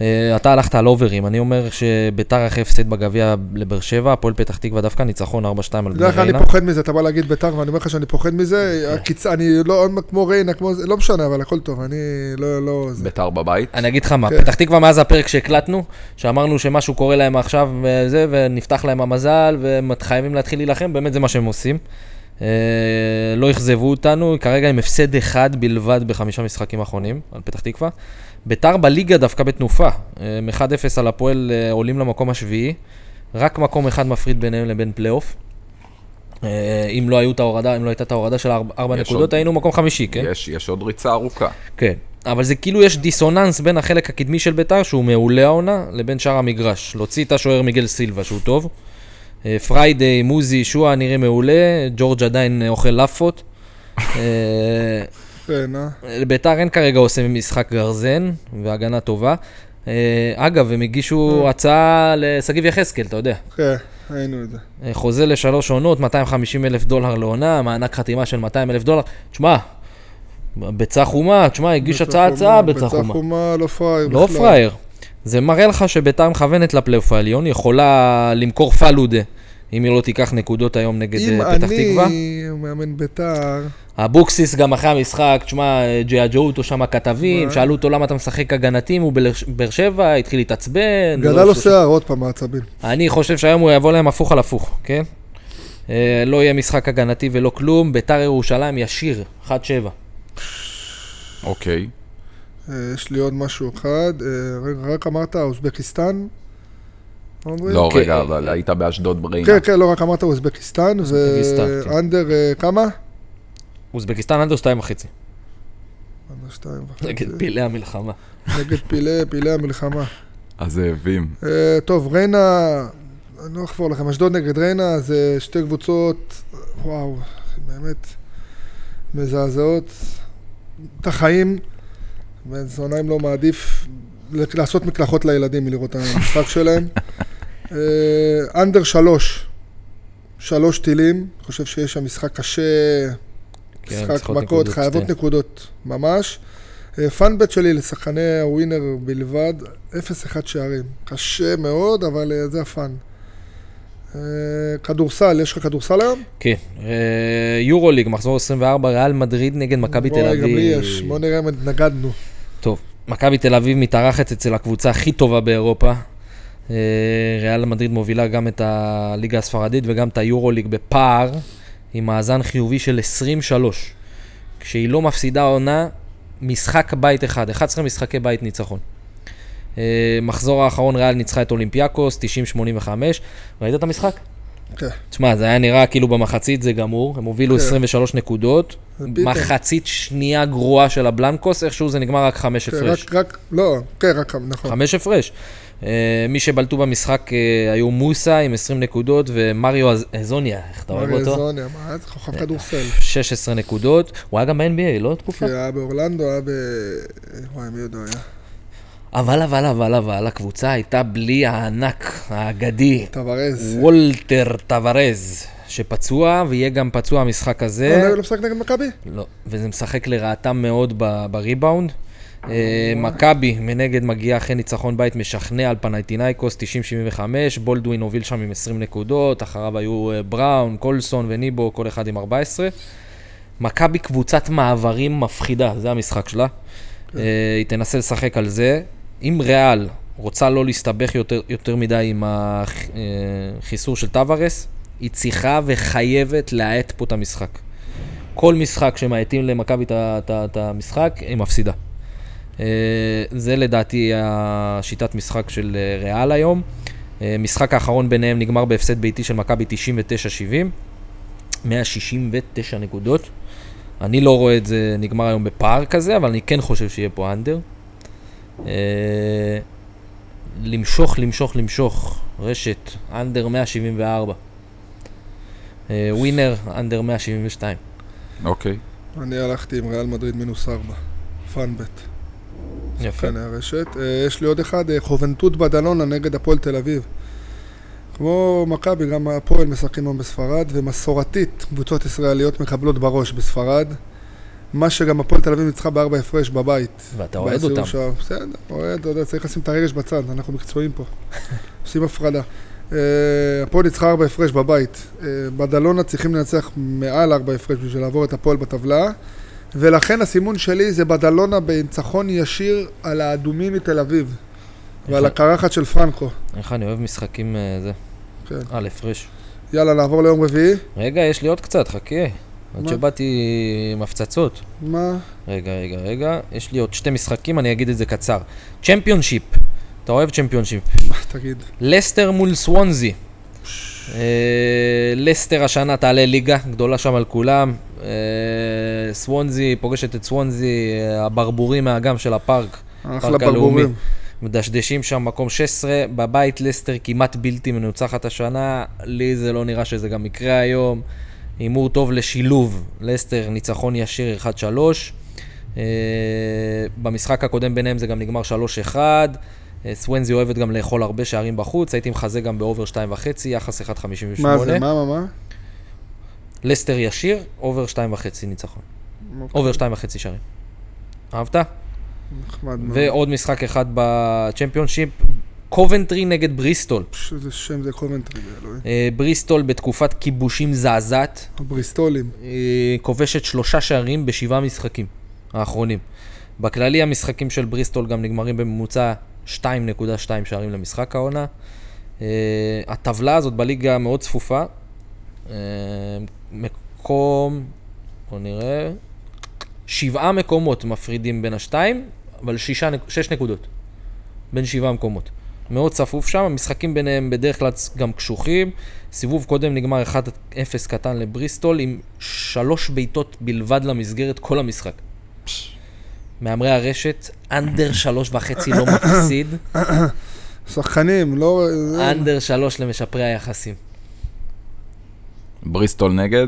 Speaker 3: אה, אתה הלכת על אוברים, אני אומר שביתר אחרי הפסד בגביע לבאר שבע, הפועל פתח תקווה דווקא ניצחון 4-2 על בני
Speaker 2: בדרך כלל
Speaker 3: ריינה.
Speaker 2: אני פוחד מזה, אתה בא להגיד ביתר ואני אומר לך שאני פוחד מזה,
Speaker 3: אוקיי.
Speaker 2: הקיצ... אני לא, כמו ריינה, כמו זה, לא משנה, אבל הכל טוב, אני לא, לא, זה.
Speaker 1: ביתר בבית.
Speaker 3: אני אגיד לך מה,
Speaker 2: כן.
Speaker 3: פתח תקווה מאז הפרק שהקלטנו, שאמרנו שמשהו קורה להם עכשיו וזה, ונפתח להם המזל, והם חייבים להתחיל להילחם, באמת זה מה שהם עושים. אה, לא אכזבו אותנו, כרגע עם הפסד אחד בלבד בחמישה משחקים האחרונים, על פתח תקווה. ביתר בליגה דווקא בתנופה, אה, הם 1-0 על הפועל אה, עולים למקום השביעי, רק מקום אחד מפריד ביניהם לבין פלייאוף. אה, אם לא היו את ההורדה, אם לא הייתה את ההורדה של ארבע
Speaker 1: יש
Speaker 3: ארבע נקודות,
Speaker 1: עוד-
Speaker 3: היינו מקום חמישי, כן?
Speaker 1: יש, יש עוד ריצה ארוכה.
Speaker 3: כן, אבל זה כאילו יש דיסוננס בין החלק הקדמי של ביתר, שהוא מעולה העונה, לבין שאר המגרש. להוציא את השוער מיגל סילבה, שהוא טוב. אה, פריידי, מוזי, שועה נראה מעולה, ג'ורג' עדיין אה, אוכל לאפות. אה,
Speaker 2: כן, אה?
Speaker 3: לביתר אין כרגע עושה משחק גרזן, והגנה טובה. אה, אגב, הם הגישו הצעה לשגיב יחזקאל, אתה יודע.
Speaker 2: כן, ראינו את זה.
Speaker 3: אה, חוזה לשלוש עונות, 250 אלף דולר לעונה, מענק חתימה של 200 אלף דולר. תשמע, ביצה חומה, תשמע, הגיש הצעה הצעה ביצה חומה.
Speaker 2: חומה, לא פראייר.
Speaker 3: לא
Speaker 2: בכלל.
Speaker 3: פראייר. זה מראה לך שביתר מכוונת לפלייאוף העליון, היא יכולה למכור פלודה, אם היא לא תיקח נקודות היום נגד
Speaker 2: אם
Speaker 3: אה, פתח תקווה. כן,
Speaker 2: אני מאמן ביתר,
Speaker 3: אבוקסיס גם אחרי המשחק, תשמע, אה, ג'יאג'ו אותו שם הכתבים,
Speaker 2: מה?
Speaker 3: שאלו אותו למה אתה משחק הגנתים, הוא בלר- באר שבע, התחיל להתעצבן.
Speaker 2: גדל
Speaker 3: לא
Speaker 2: לו
Speaker 3: ש-
Speaker 2: שיער עוד פעם מעצבים.
Speaker 3: אני חושב שהיום הוא יבוא להם הפוך על הפוך, כן? אה, לא יהיה משחק הגנתי ולא כלום, ביתר ירושלים ישיר, 1-7.
Speaker 1: אוקיי.
Speaker 2: אה, יש לי עוד משהו אחד, אה, רגע, רק אמרת אוזבקיסטן? עומרי?
Speaker 1: לא,
Speaker 3: כן.
Speaker 1: רגע, אבל היית באשדוד בריינה.
Speaker 2: כן, כן, לא רק אמרת אוזבקיסטן,
Speaker 3: אוזבקיסטן, כן.
Speaker 2: ואנדר אה, כמה?
Speaker 3: אוזבקיסטן אנדר 2.5.
Speaker 2: אנדר שתיים וחצי.
Speaker 3: נגד פעילי המלחמה.
Speaker 2: נגד פעילי- פעילי המלחמה.
Speaker 1: אז זאבים.
Speaker 2: אה, טוב, ריינה, אני לא אחבור לכם, אשדוד נגד ריינה זה שתי קבוצות, וואו, באמת מזעזעות את החיים, בן זונאים לא מעדיף ל- לעשות מקלחות לילדים מלראות את המשחק שלהם. אה, אנדר שלוש, שלוש טילים, אני חושב שיש שם משחק קשה,
Speaker 3: כן,
Speaker 2: משחק
Speaker 3: צריכות
Speaker 2: מכות,
Speaker 3: נקודות,
Speaker 2: חייבות
Speaker 3: שתיהן.
Speaker 2: נקודות, ממש. אה, פאנבט שלי לשחקני הווינר בלבד, 0-1 שערים. קשה מאוד, אבל אה, זה הפאן. אה, כדורסל, יש לך כדורסל היום?
Speaker 3: כן, אה, יורוליג, מחזור 24, ריאל מדריד נגד מכבי תל
Speaker 2: בואי,
Speaker 3: אביב.
Speaker 2: גם לי יש, בוא נראה אם התנגדנו.
Speaker 3: טוב, מכבי תל אביב מתארחת אצל הקבוצה הכי טובה באירופה. אה, ריאל מדריד מובילה גם את הליגה הספרדית וגם את היורוליג בפער, עם מאזן חיובי של 23. כשהיא לא מפסידה עונה, משחק בית אחד, 11 משחקי בית ניצחון. אה, מחזור האחרון ריאל ניצחה את אולימפיאקוס, 90-85. ראית את המשחק?
Speaker 2: כן.
Speaker 3: תשמע, זה היה נראה כאילו במחצית זה גמור, הם הובילו
Speaker 2: כן.
Speaker 3: 23 נקודות,
Speaker 2: זה פתאום.
Speaker 3: מחצית שנייה גרועה של הבלנקוס, איכשהו זה נגמר רק חמש
Speaker 2: כן,
Speaker 3: הפרש.
Speaker 2: רק, רק, לא, כן, רק, נכון.
Speaker 3: חמש הפרש. אה, מי שבלטו במשחק אה, היו מוסה עם 20 נקודות ומריו אז- אזוניה, איך אתה אוהב
Speaker 2: מרי
Speaker 3: אותו?
Speaker 2: זוניה, מה, זה חוכב כדורסל.
Speaker 3: 16 נקודות, הוא היה גם ב-NBA, לא תקופה?
Speaker 2: כי היה באורלנדו, היה ב... וואי, מי יודע היה?
Speaker 3: אבל, אבל, אבל, אבל, הקבוצה הייתה בלי הענק, האגדי,
Speaker 2: טוורז.
Speaker 3: וולטר טוורז, שפצוע, ויהיה גם פצוע המשחק
Speaker 2: לא,
Speaker 3: הזה.
Speaker 2: לא, לא משחק נגד מכבי?
Speaker 3: לא, וזה משחק לרעתם מאוד ב- בריבאונד. אה, מכבי מנגד מגיעה אחרי ניצחון בית משכנע על פנייטינאיקוס 90-75, בולדווין הוביל שם עם 20 נקודות, אחריו היו אה, בראון, קולסון וניבו, כל אחד עם 14. מכבי קבוצת מעברים מפחידה, זה המשחק שלה. אה, היא תנסה לשחק על זה. אם ריאל רוצה לא להסתבך יותר, יותר מדי עם החיסור של טווארס, היא צריכה וחייבת להאט פה את המשחק. כל משחק שמאייתים למכבי את ה- את ה- את המשחק, היא מפסידה. אה, זה לדעתי השיטת משחק של אה, ריאל היום. אה, משחק האחרון ביניהם נגמר בהפסד ביתי של מכבי 99-70, 169 נקודות. אני לא רואה את זה נגמר היום בפער כזה, אבל אני כן חושב שיהיה פה אנדר. אה, למשוך, למשוך, למשוך, רשת, אנדר 174. אה, ווינר אנדר 172.
Speaker 1: אוקיי.
Speaker 2: אני הלכתי עם ריאל מדריד מינוס ארבע. פאנבט.
Speaker 3: יפה.
Speaker 2: כן, הרשת. אה, יש לי עוד אחד, אה, חובנטות בדלונה נגד הפועל תל אביב. כמו מכבי, גם הפועל משחקים היום בספרד, ומסורתית קבוצות ישראליות מקבלות בראש בספרד. מה שגם הפועל תל אביב ניצחה בארבע הפרש בבית.
Speaker 3: ואתה אוהד
Speaker 2: בסיבוב
Speaker 3: אותם.
Speaker 2: שער. בסדר, אוהד, אתה יודע, צריך לשים את הרגש בצד, אנחנו מקצועיים פה. עושים הפרדה. אה, הפועל ניצחה ארבע הפרש בבית. אה, בדלונה צריכים לנצח מעל ארבע הפרש בשביל לעבור את הפועל בטבלה. ולכן הסימון שלי זה בדלונה בניצחון ישיר על האדומים מתל אביב ועל הקרחת של פרנקו.
Speaker 3: איך אני אוהב משחקים אה, זה.
Speaker 2: כן.
Speaker 3: על הפרש.
Speaker 2: יאללה, נעבור ליום רביעי.
Speaker 3: רגע, יש לי עוד קצת, חכה. עד
Speaker 2: מה?
Speaker 3: שבאתי עם הפצצות.
Speaker 2: מה?
Speaker 3: רגע, רגע, רגע. יש לי עוד שתי משחקים, אני אגיד את זה קצר. צ'מפיונשיפ. אתה אוהב צ'מפיונשיפ.
Speaker 2: מה תגיד?
Speaker 3: לסטר מול סוונזי. אה, לסטר השנה תעלה ליגה, גדולה שם על כולם. אה, סוונזי, פוגשת את סוונזי, אה, הברבורים מהאגם של הפארק.
Speaker 2: אחלה
Speaker 3: פארק הלאומי.
Speaker 2: ברבורים.
Speaker 3: מדשדשים שם מקום 16, בבית לסטר כמעט בלתי מנוצחת השנה, לי זה לא נראה שזה גם יקרה היום. הימור טוב לשילוב, לסטר ניצחון ישיר 1-3. אה, במשחק הקודם ביניהם זה גם נגמר 3-1. אה, סוונזי אוהבת גם לאכול הרבה שערים בחוץ, הייתי מחזה גם באובר 2.5, יחס 1.58.
Speaker 2: מה זה? מה, מה, מה?
Speaker 3: לסטר ישיר, אובר 2.5 ניצחון. אובר 2.5 שערים. אהבת?
Speaker 2: נחמד מאוד.
Speaker 3: ועוד משחק אחד בצ'מפיונשיפ, קובנטרי נגד בריסטול.
Speaker 2: פש, איזה שם זה קומנטרי, אלוהים.
Speaker 3: אה, בריסטול בתקופת כיבושים זעזעת,
Speaker 2: הבריסטולים.
Speaker 3: אה, כובשת שלושה שערים בשבעה משחקים האחרונים. בכללי המשחקים של בריסטול גם נגמרים בממוצע 2.2 שערים למשחק העונה. אה, הטבלה הזאת בליגה מאוד צפופה. אה, מקום, בוא נראה, שבעה מקומות מפרידים בין השתיים, אבל שישה, נק- שש נקודות. בין שבעה מקומות. מאוד צפוף שם, המשחקים ביניהם בדרך כלל גם קשוחים. סיבוב קודם נגמר 1-0 קטן לבריסטול עם שלוש בעיטות בלבד למסגרת כל המשחק. מהמרי הרשת, אנדר שלוש וחצי לא מפסיד,
Speaker 2: שחקנים, לא... זה-
Speaker 3: אנדר שלוש למשפרי היחסים.
Speaker 1: בריסטול נגד,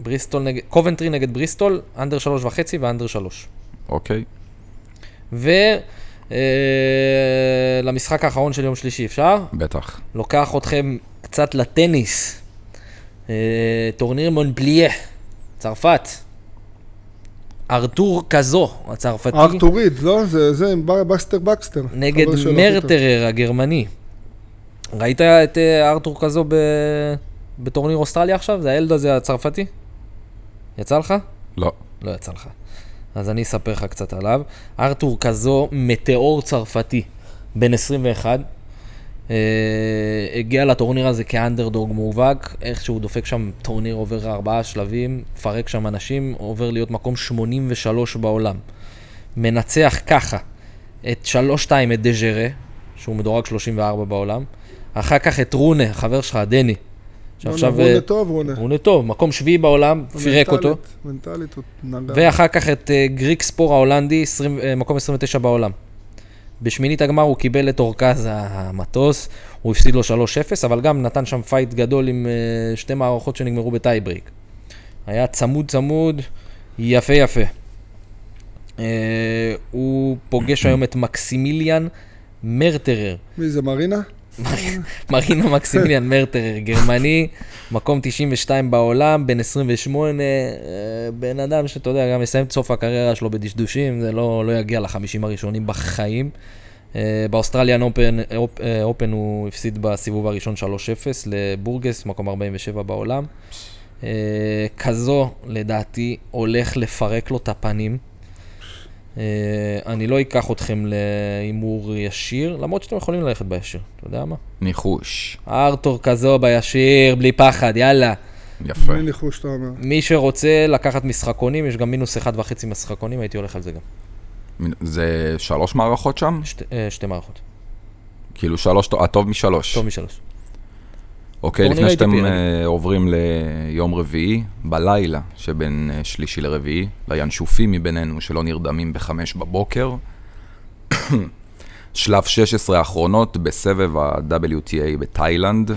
Speaker 3: בריסטול נגד, קובנטרי נגד בריסטול, אנדר שלוש וחצי ואנדר שלוש.
Speaker 1: אוקיי.
Speaker 3: ולמשחק אה, האחרון של יום שלישי אפשר?
Speaker 1: בטח.
Speaker 3: לוקח אתכם קצת לטניס. אה, טורניר מונפליה, צרפת. ארתור קזו, הצרפתי,
Speaker 2: ארתוריד, לא? זה- זה עם בר- בסטר בקסטר.
Speaker 3: נגד
Speaker 2: חבר שלו הכי טוב.
Speaker 3: מרטרר הגרמני. ראית את אה, ארתור קזו ב... בטורניר אוסטרליה עכשיו? זה הילד הזה הצרפתי? יצא לך?
Speaker 1: לא.
Speaker 3: לא יצא לך. אז אני אספר לך קצת עליו. ארתור קזו, מטאור צרפתי, בן 21. אה, הגיע לטורניר הזה כאנדרדוג מובהק, איך שהוא דופק שם טורניר עובר ארבעה שלבים, מפרק שם אנשים, עובר להיות מקום 83 בעולם. מנצח ככה את 3-2 את דז'רה, שהוא מדורג 34 בעולם, אחר כך את רונה, חבר שלך, הדני, שעכשיו...
Speaker 2: רונה
Speaker 3: אה,
Speaker 2: טוב, רונה.
Speaker 3: רונה טוב, מקום שביעי בעולם, פירק אותו.
Speaker 2: מנטלית, מנטלית הוא נגע.
Speaker 3: ואחר כך את אה, גריק ספור ההולנדי, 20, אה, מקום 29 בעולם. בשמינית הגמר הוא קיבל את אורכז המטוס, הוא הפסיד לו 3-0, אבל גם נתן שם פייט גדול עם אה, שתי מערכות שנגמרו בטייברייק. היה צמוד צמוד, יפה יפה. אה, הוא פוגש היום את מקסימיליאן מרטרר,
Speaker 2: מי זה, מרינה?
Speaker 3: מרינה מקסימיליאן מרטרר, גרמני, מקום 92 בעולם, בן 28, אה, בן אדם שאתה יודע, גם יסיים את סוף הקריירה שלו בדשדושים, זה לא, לא יגיע לחמישים הראשונים בחיים. אה, באוסטרליאן אופן, אופ, אה, אופן הוא הפסיד בסיבוב הראשון 3-0 לבורגס, מקום 47 בעולם. אה, כזו, לדעתי, הולך לפרק לו את הפנים. אה, אני לא אקח אתכם להימור ישיר, למרות שאתם יכולים ללכת בישיר, אתה יודע מה?
Speaker 1: ניחוש.
Speaker 3: ארתור כזו בישיר, בלי פחד, יאללה.
Speaker 1: יפה.
Speaker 2: מי ניחוש אתה אומר?
Speaker 3: מי שרוצה לקחת משחקונים, יש גם מינוס אחד וחצי משחקונים, הייתי הולך על זה גם.
Speaker 1: זה שלוש מערכות שם?
Speaker 3: שתי, אה, שתי מערכות,
Speaker 1: כאילו שלוש, הטוב משלוש.
Speaker 3: טוב משלוש.
Speaker 1: אוקיי,
Speaker 3: טורניר
Speaker 1: לפני שאתם
Speaker 3: ATP,
Speaker 1: אה,
Speaker 3: נגיד.
Speaker 1: עוברים ליום רביעי, בלילה שבין אה, שלישי לרביעי, לינשופים מבינינו שלא נרדמים בחמש בבוקר, שלב 16 האחרונות בסבב ה-WTA בתאילנד,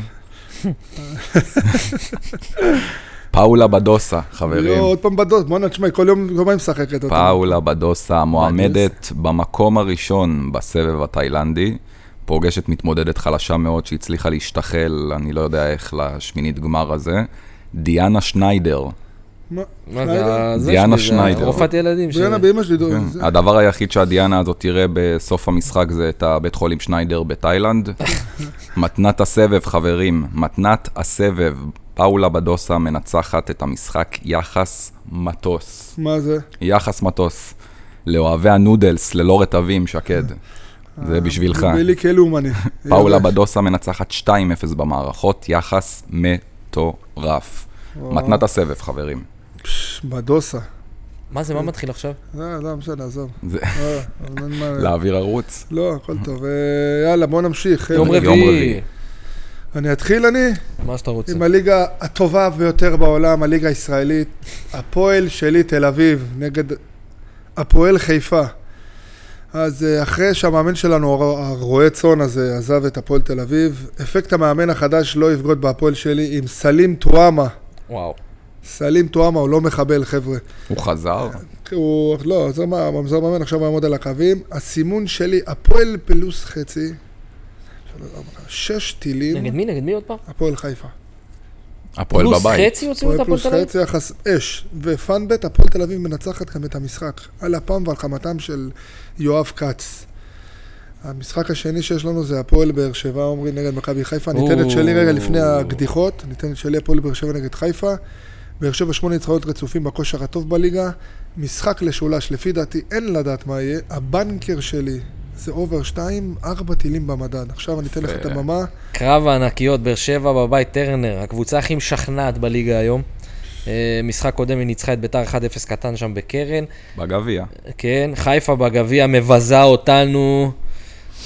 Speaker 1: פאולה בדוסה, חברים.
Speaker 2: לא, עוד פעם בדוד, בואנה, תשמע, כל יום כל יום היא משחקת אותה.
Speaker 1: פאולה בדוסה מועמדת במקום הראשון בסבב התאילנדי, פוגשת מתמודדת חלשה מאוד שהצליחה להשתחל, אני לא יודע איך, לשמינית גמר הזה. דיאנה שניידר.
Speaker 2: מה?
Speaker 3: מה
Speaker 2: לא יודע.
Speaker 3: זה? זה
Speaker 1: דיאנה
Speaker 3: שלי, זה
Speaker 1: שניידר.
Speaker 3: רופאת ילדים שלי.
Speaker 2: זה יאללה, באמא שלי, דוד.
Speaker 1: כן.
Speaker 2: זה-
Speaker 1: הדבר היחיד שהדיאנה הזאת תראה בסוף המשחק זה את הבית חולים שניידר בתאילנד. מתנת הסבב, חברים, מתנת הסבב. פאולה בדוסה מנצחת את המשחק יחס מטוס.
Speaker 2: מה זה?
Speaker 1: יחס מטוס. לאוהבי הנודלס, ללא רטבים, שקד.
Speaker 2: אה,
Speaker 1: זה בשבילך.
Speaker 2: בשבילי כלאומני.
Speaker 1: פאולה בדוסה מנצחת 2-0 במערכות, יחס מטורף.
Speaker 2: וואו.
Speaker 1: מתנת הסבב, חברים.
Speaker 2: אה. פש, בדוסה.
Speaker 3: מה זה, מה מתחיל עכשיו?
Speaker 2: לא, לא, בסדר, עזוב.
Speaker 1: זה-
Speaker 2: אה, אבל אין מה-
Speaker 1: להעביר ערוץ.
Speaker 2: לא, הכל טוב. אה, יאללה, בוא נמשיך. חבר'ה.
Speaker 3: יום
Speaker 1: יום
Speaker 3: רביעי.
Speaker 1: רביעי.
Speaker 2: אני אתחיל אני
Speaker 3: מה שאתה רוצה.
Speaker 2: עם הליגה הטובה ביותר בעולם, הליגה הישראלית. הפועל שלי תל אביב נגד הפועל חיפה. אז אה, אחרי שהמאמן שלנו, הר- הרועה צאן הזה, עזב את הפועל תל אביב, אפקט המאמן החדש לא יבגוד בהפועל שלי עם סלים טועמה.
Speaker 3: וואו.
Speaker 2: סלים טועמה הוא לא מחבל, חבר'ה.
Speaker 1: הוא חזר?
Speaker 2: הוא, לא, עוזר מה- עוזר מאמן עכשיו יעמוד על הקווים. הסימון שלי, הפועל פלוס חצי, שלוש, ארבע, חמש, שש
Speaker 3: נגד
Speaker 2: טילים,
Speaker 3: מי? נגד מי עוד פעם?
Speaker 2: הפועל חיפה.
Speaker 1: הפועל
Speaker 3: פלוס
Speaker 1: בבית.
Speaker 3: חצי הוציאו את
Speaker 2: הפועל
Speaker 3: הפועל
Speaker 2: פלוס
Speaker 3: תל אביב?
Speaker 2: חצי יחס אש, ופאנבט, הפועל תל אביב מנצחת גם את המשחק, על אפם ועל חמתם של יואב כץ. המשחק השני שיש לנו זה הפועל באר שבע, עומרי נגד מכבי חיפה. ניתן את שלי רגע
Speaker 3: או.
Speaker 2: לפני הקדיחות, ניתן את שלי הפועל באר שבע נגד חיפה. באר שבע שמונה ניצחונות רצופים בכושר הטוב בליגה. משחק לשולש, לפי דעתי אין לדעת מה יהיה. הבנקר שלי זה אובר שתיים, ארבע טילים במדד. עכשיו אני אתן לך את
Speaker 1: יפה.
Speaker 2: הבמה.
Speaker 3: קרב הענקיות, באר שבע בבית, טרנר, הקבוצה הכי משכנעת בליגה היום. אה, משחק קודם היא ניצחה את ביתר 1-0 קטן שם בקרן.
Speaker 1: בגביע.
Speaker 3: כן, חיפה בגביע מבזה אותנו.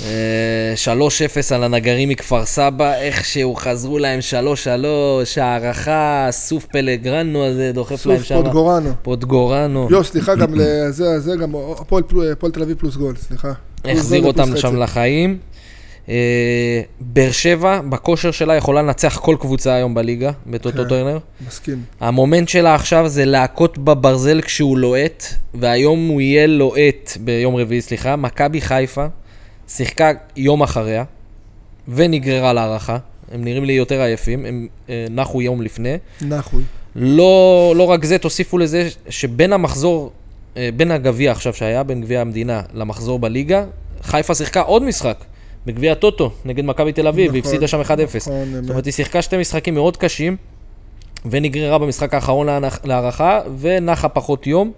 Speaker 3: אה, 3-0 על הנגרים מכפר סבא, איכשהו חזרו להם 3-3, הערכה, סוף פלגרנו הזה דוחף להם
Speaker 2: סוף
Speaker 3: שם.
Speaker 2: פוטגורנו.
Speaker 3: פוטגורנו.
Speaker 2: יו, סליחה, גם לזה, זה גם הפועל פלו- הפועל תל אביב פלוס גול, סליחה. לא פלוס
Speaker 3: החזיר
Speaker 2: גול
Speaker 3: אותם
Speaker 2: ופלוס
Speaker 3: שם
Speaker 2: חצי.
Speaker 3: לחיים. אה, באר שבע, בכושר שלה, יכולה לנצח כל קבוצה היום בליגה, בטוטו
Speaker 2: כן.
Speaker 3: טרנר.
Speaker 2: מסכים.
Speaker 3: המומנט שלה עכשיו זה להכות בברזל כשהוא לוהט, והיום הוא יהיה לוהט, ביום רביעי, סליחה. מכבי חיפה שיחקה יום אחריה, ונגררה להערכה. הם נראים לי יותר עייפים, הם אה, נחו יום לפני.
Speaker 2: נחוי.
Speaker 3: לא, לא רק זה, תוסיפו לזה ש- שבין המחזור, אה, בין הגביע עכשיו שהיה, בין גביע המדינה למחזור בליגה, חיפה שיחקה עוד משחק, בגביע הטוטו, נגד מכבי תל אביב,
Speaker 2: נכון,
Speaker 3: והיא הפסידה שם 1-0.
Speaker 2: נכון,
Speaker 3: זאת
Speaker 2: אמת.
Speaker 3: אומרת, היא שיחקה שתי משחקים מאוד קשים, ונגררה במשחק האחרון להנח- להערכה, ונחה פחות יום,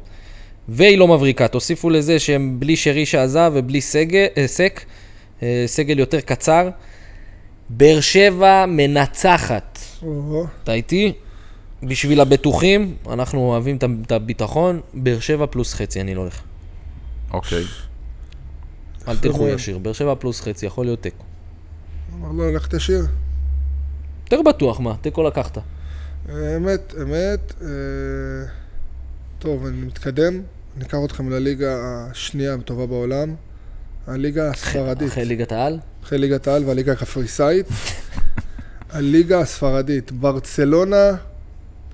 Speaker 3: והיא לא מבריקה. תוסיפו לזה שהם בלי שרי שעזב ובלי סגל, אה, סק, אה, סגל יותר קצר. באר שבע מנצחת.
Speaker 2: או-הו.
Speaker 3: אתה איתי? בשביל הבטוחים, אנחנו אוהבים את ה- את הביטחון, באר שבע פלוס חצי, אני לא הולך.
Speaker 1: אוקיי.
Speaker 3: אל תלכו
Speaker 2: מאוד.
Speaker 3: ישיר, באר שבע פלוס חצי, יכול להיות תיקו.
Speaker 2: אמר לו, לך תשיר.
Speaker 3: יותר בטוח, מה? תיקו לקחת.
Speaker 2: אמת, אמת. אה, טוב, אני מתקדם. ניקח אתכם לליגה השנייה הטובה בעולם. הליגה הספרדית.
Speaker 3: אחרי ליגת העל?
Speaker 2: אחרי ליגת העל והליגה הקפריסאית. הליגה הספרדית. ברצלונה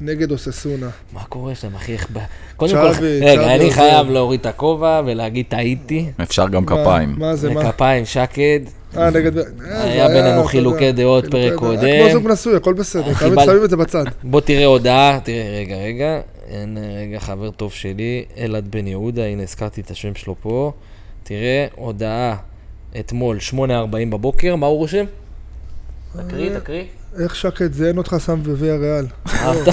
Speaker 2: נגד אוססונה.
Speaker 3: מה קורה שם, אחי? איך ב... קודם
Speaker 2: צ'אבי,
Speaker 3: כל, רגע,
Speaker 2: צ'אבי
Speaker 3: אני
Speaker 2: עוזר.
Speaker 3: חייב להוריד את הכובע ולהגיד טעיתי.
Speaker 1: אפשר גם כפיים.
Speaker 2: מה מה זה, מה?
Speaker 3: כפיים, שקד.
Speaker 2: אה, נגד... אה, זה
Speaker 3: היה בינינו
Speaker 2: אתה
Speaker 3: חילוקי
Speaker 2: יודע,
Speaker 3: דעות
Speaker 2: חילוקי
Speaker 3: פרק
Speaker 2: דעות.
Speaker 3: קודם. אה,
Speaker 2: כמו זוג נשוי, הכל בסדר. תמיד
Speaker 3: קיבל-
Speaker 2: שמים את זה בצד.
Speaker 3: בוא תראה הודעה, תראה, רגע, רגע, אין, אה, רגע, חבר טוב שלי, אלעד בן יהודה, הנה, הזכרתי את השם שלו פה. תראה, הודעה אתמול, 8.40 בבוקר, מה הוא רושם? תקריא, תקריא.
Speaker 2: איך שקד זיין אותך שם בוויה ריאל?
Speaker 3: אהבת?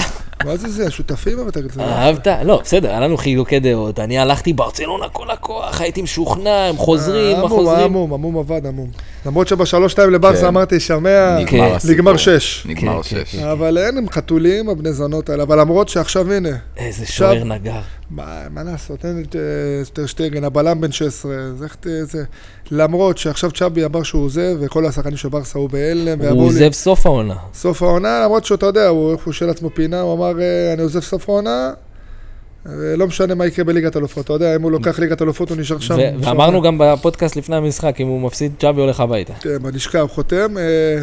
Speaker 2: מה זה זה? השותפים אבל תגיד. זה לא.
Speaker 3: אהבת? לא, בסדר, היה לנו חילוקי דעות. אני הלכתי ברצלונה כל הכוח, הייתי משוכנע, הם חוזרים, מה
Speaker 2: המום,
Speaker 3: חוזרים?
Speaker 2: המום, המום עבד, המום. למרות שבשלוש-שתיים
Speaker 1: כן.
Speaker 2: לברסה אמרתי, שמע,
Speaker 1: נגמר
Speaker 3: כן.
Speaker 1: הסיפור.
Speaker 2: נגמר שש.
Speaker 1: נגמר
Speaker 3: כן, כן,
Speaker 1: שש.
Speaker 3: כן.
Speaker 2: אבל אין, הם חתולים, הבני זונות האלה. אבל למרות שעכשיו, הנה,
Speaker 3: איזה שוער נגר.
Speaker 2: מה מה לעשות, אין את אה, טרשטגן, הבלם בן 16, אז איך ת- זה... למרות שעכשיו צ'אבי אמר שהוא עוזב, וכל השחקנים של ברסה הוא בהלם,
Speaker 3: הוא
Speaker 2: ואמרו לי,
Speaker 3: עוזב סוף העונה.
Speaker 2: סוף העונה, למרות שאתה יודע, הוא איך הוא של עצמו פינה, הוא אמר, אה, אני עוזב סוף העונה, אה, לא משנה מה יקרה בליגת אלופות, אתה יודע, אם הוא לוקח ליגת אלופות, הוא נשאר שם.
Speaker 3: ו- ואמרנו גם בפודקאסט לפני המשחק, אם הוא מפסיד, צ'אבי הולך הביתה.
Speaker 2: כן, בלשכה הוא חותם. אה,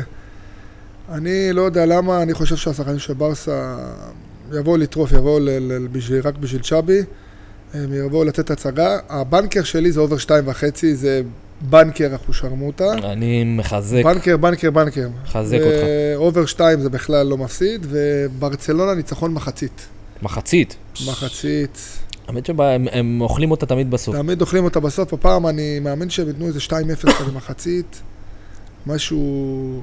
Speaker 2: אני לא יודע למה, אני חושב שהשחקנים של ברסה יבואו לטרוף, יבואו ל- ל- בשביל- רק בשביל צ'אבי, הם יבואו לתת הצגה. הבנקר שלי זה אובר שתיים וחצי, זה בנקר אחושרמוטה.
Speaker 3: אני מחזק,
Speaker 2: בנקר, בנקר, בנקר.
Speaker 3: מחזק אותך.
Speaker 2: אה, אובר שתיים זה בכלל לא מפסיד, וברצלונה ניצחון מחצית.
Speaker 3: מחצית.
Speaker 2: מחצית.
Speaker 3: האמת שהם הם אוכלים אותה תמיד בסוף.
Speaker 2: תמיד אוכלים אותה בסוף, הפעם אני מאמין שהם ייתנו איזה 2-0 כזה מחצית. משהו...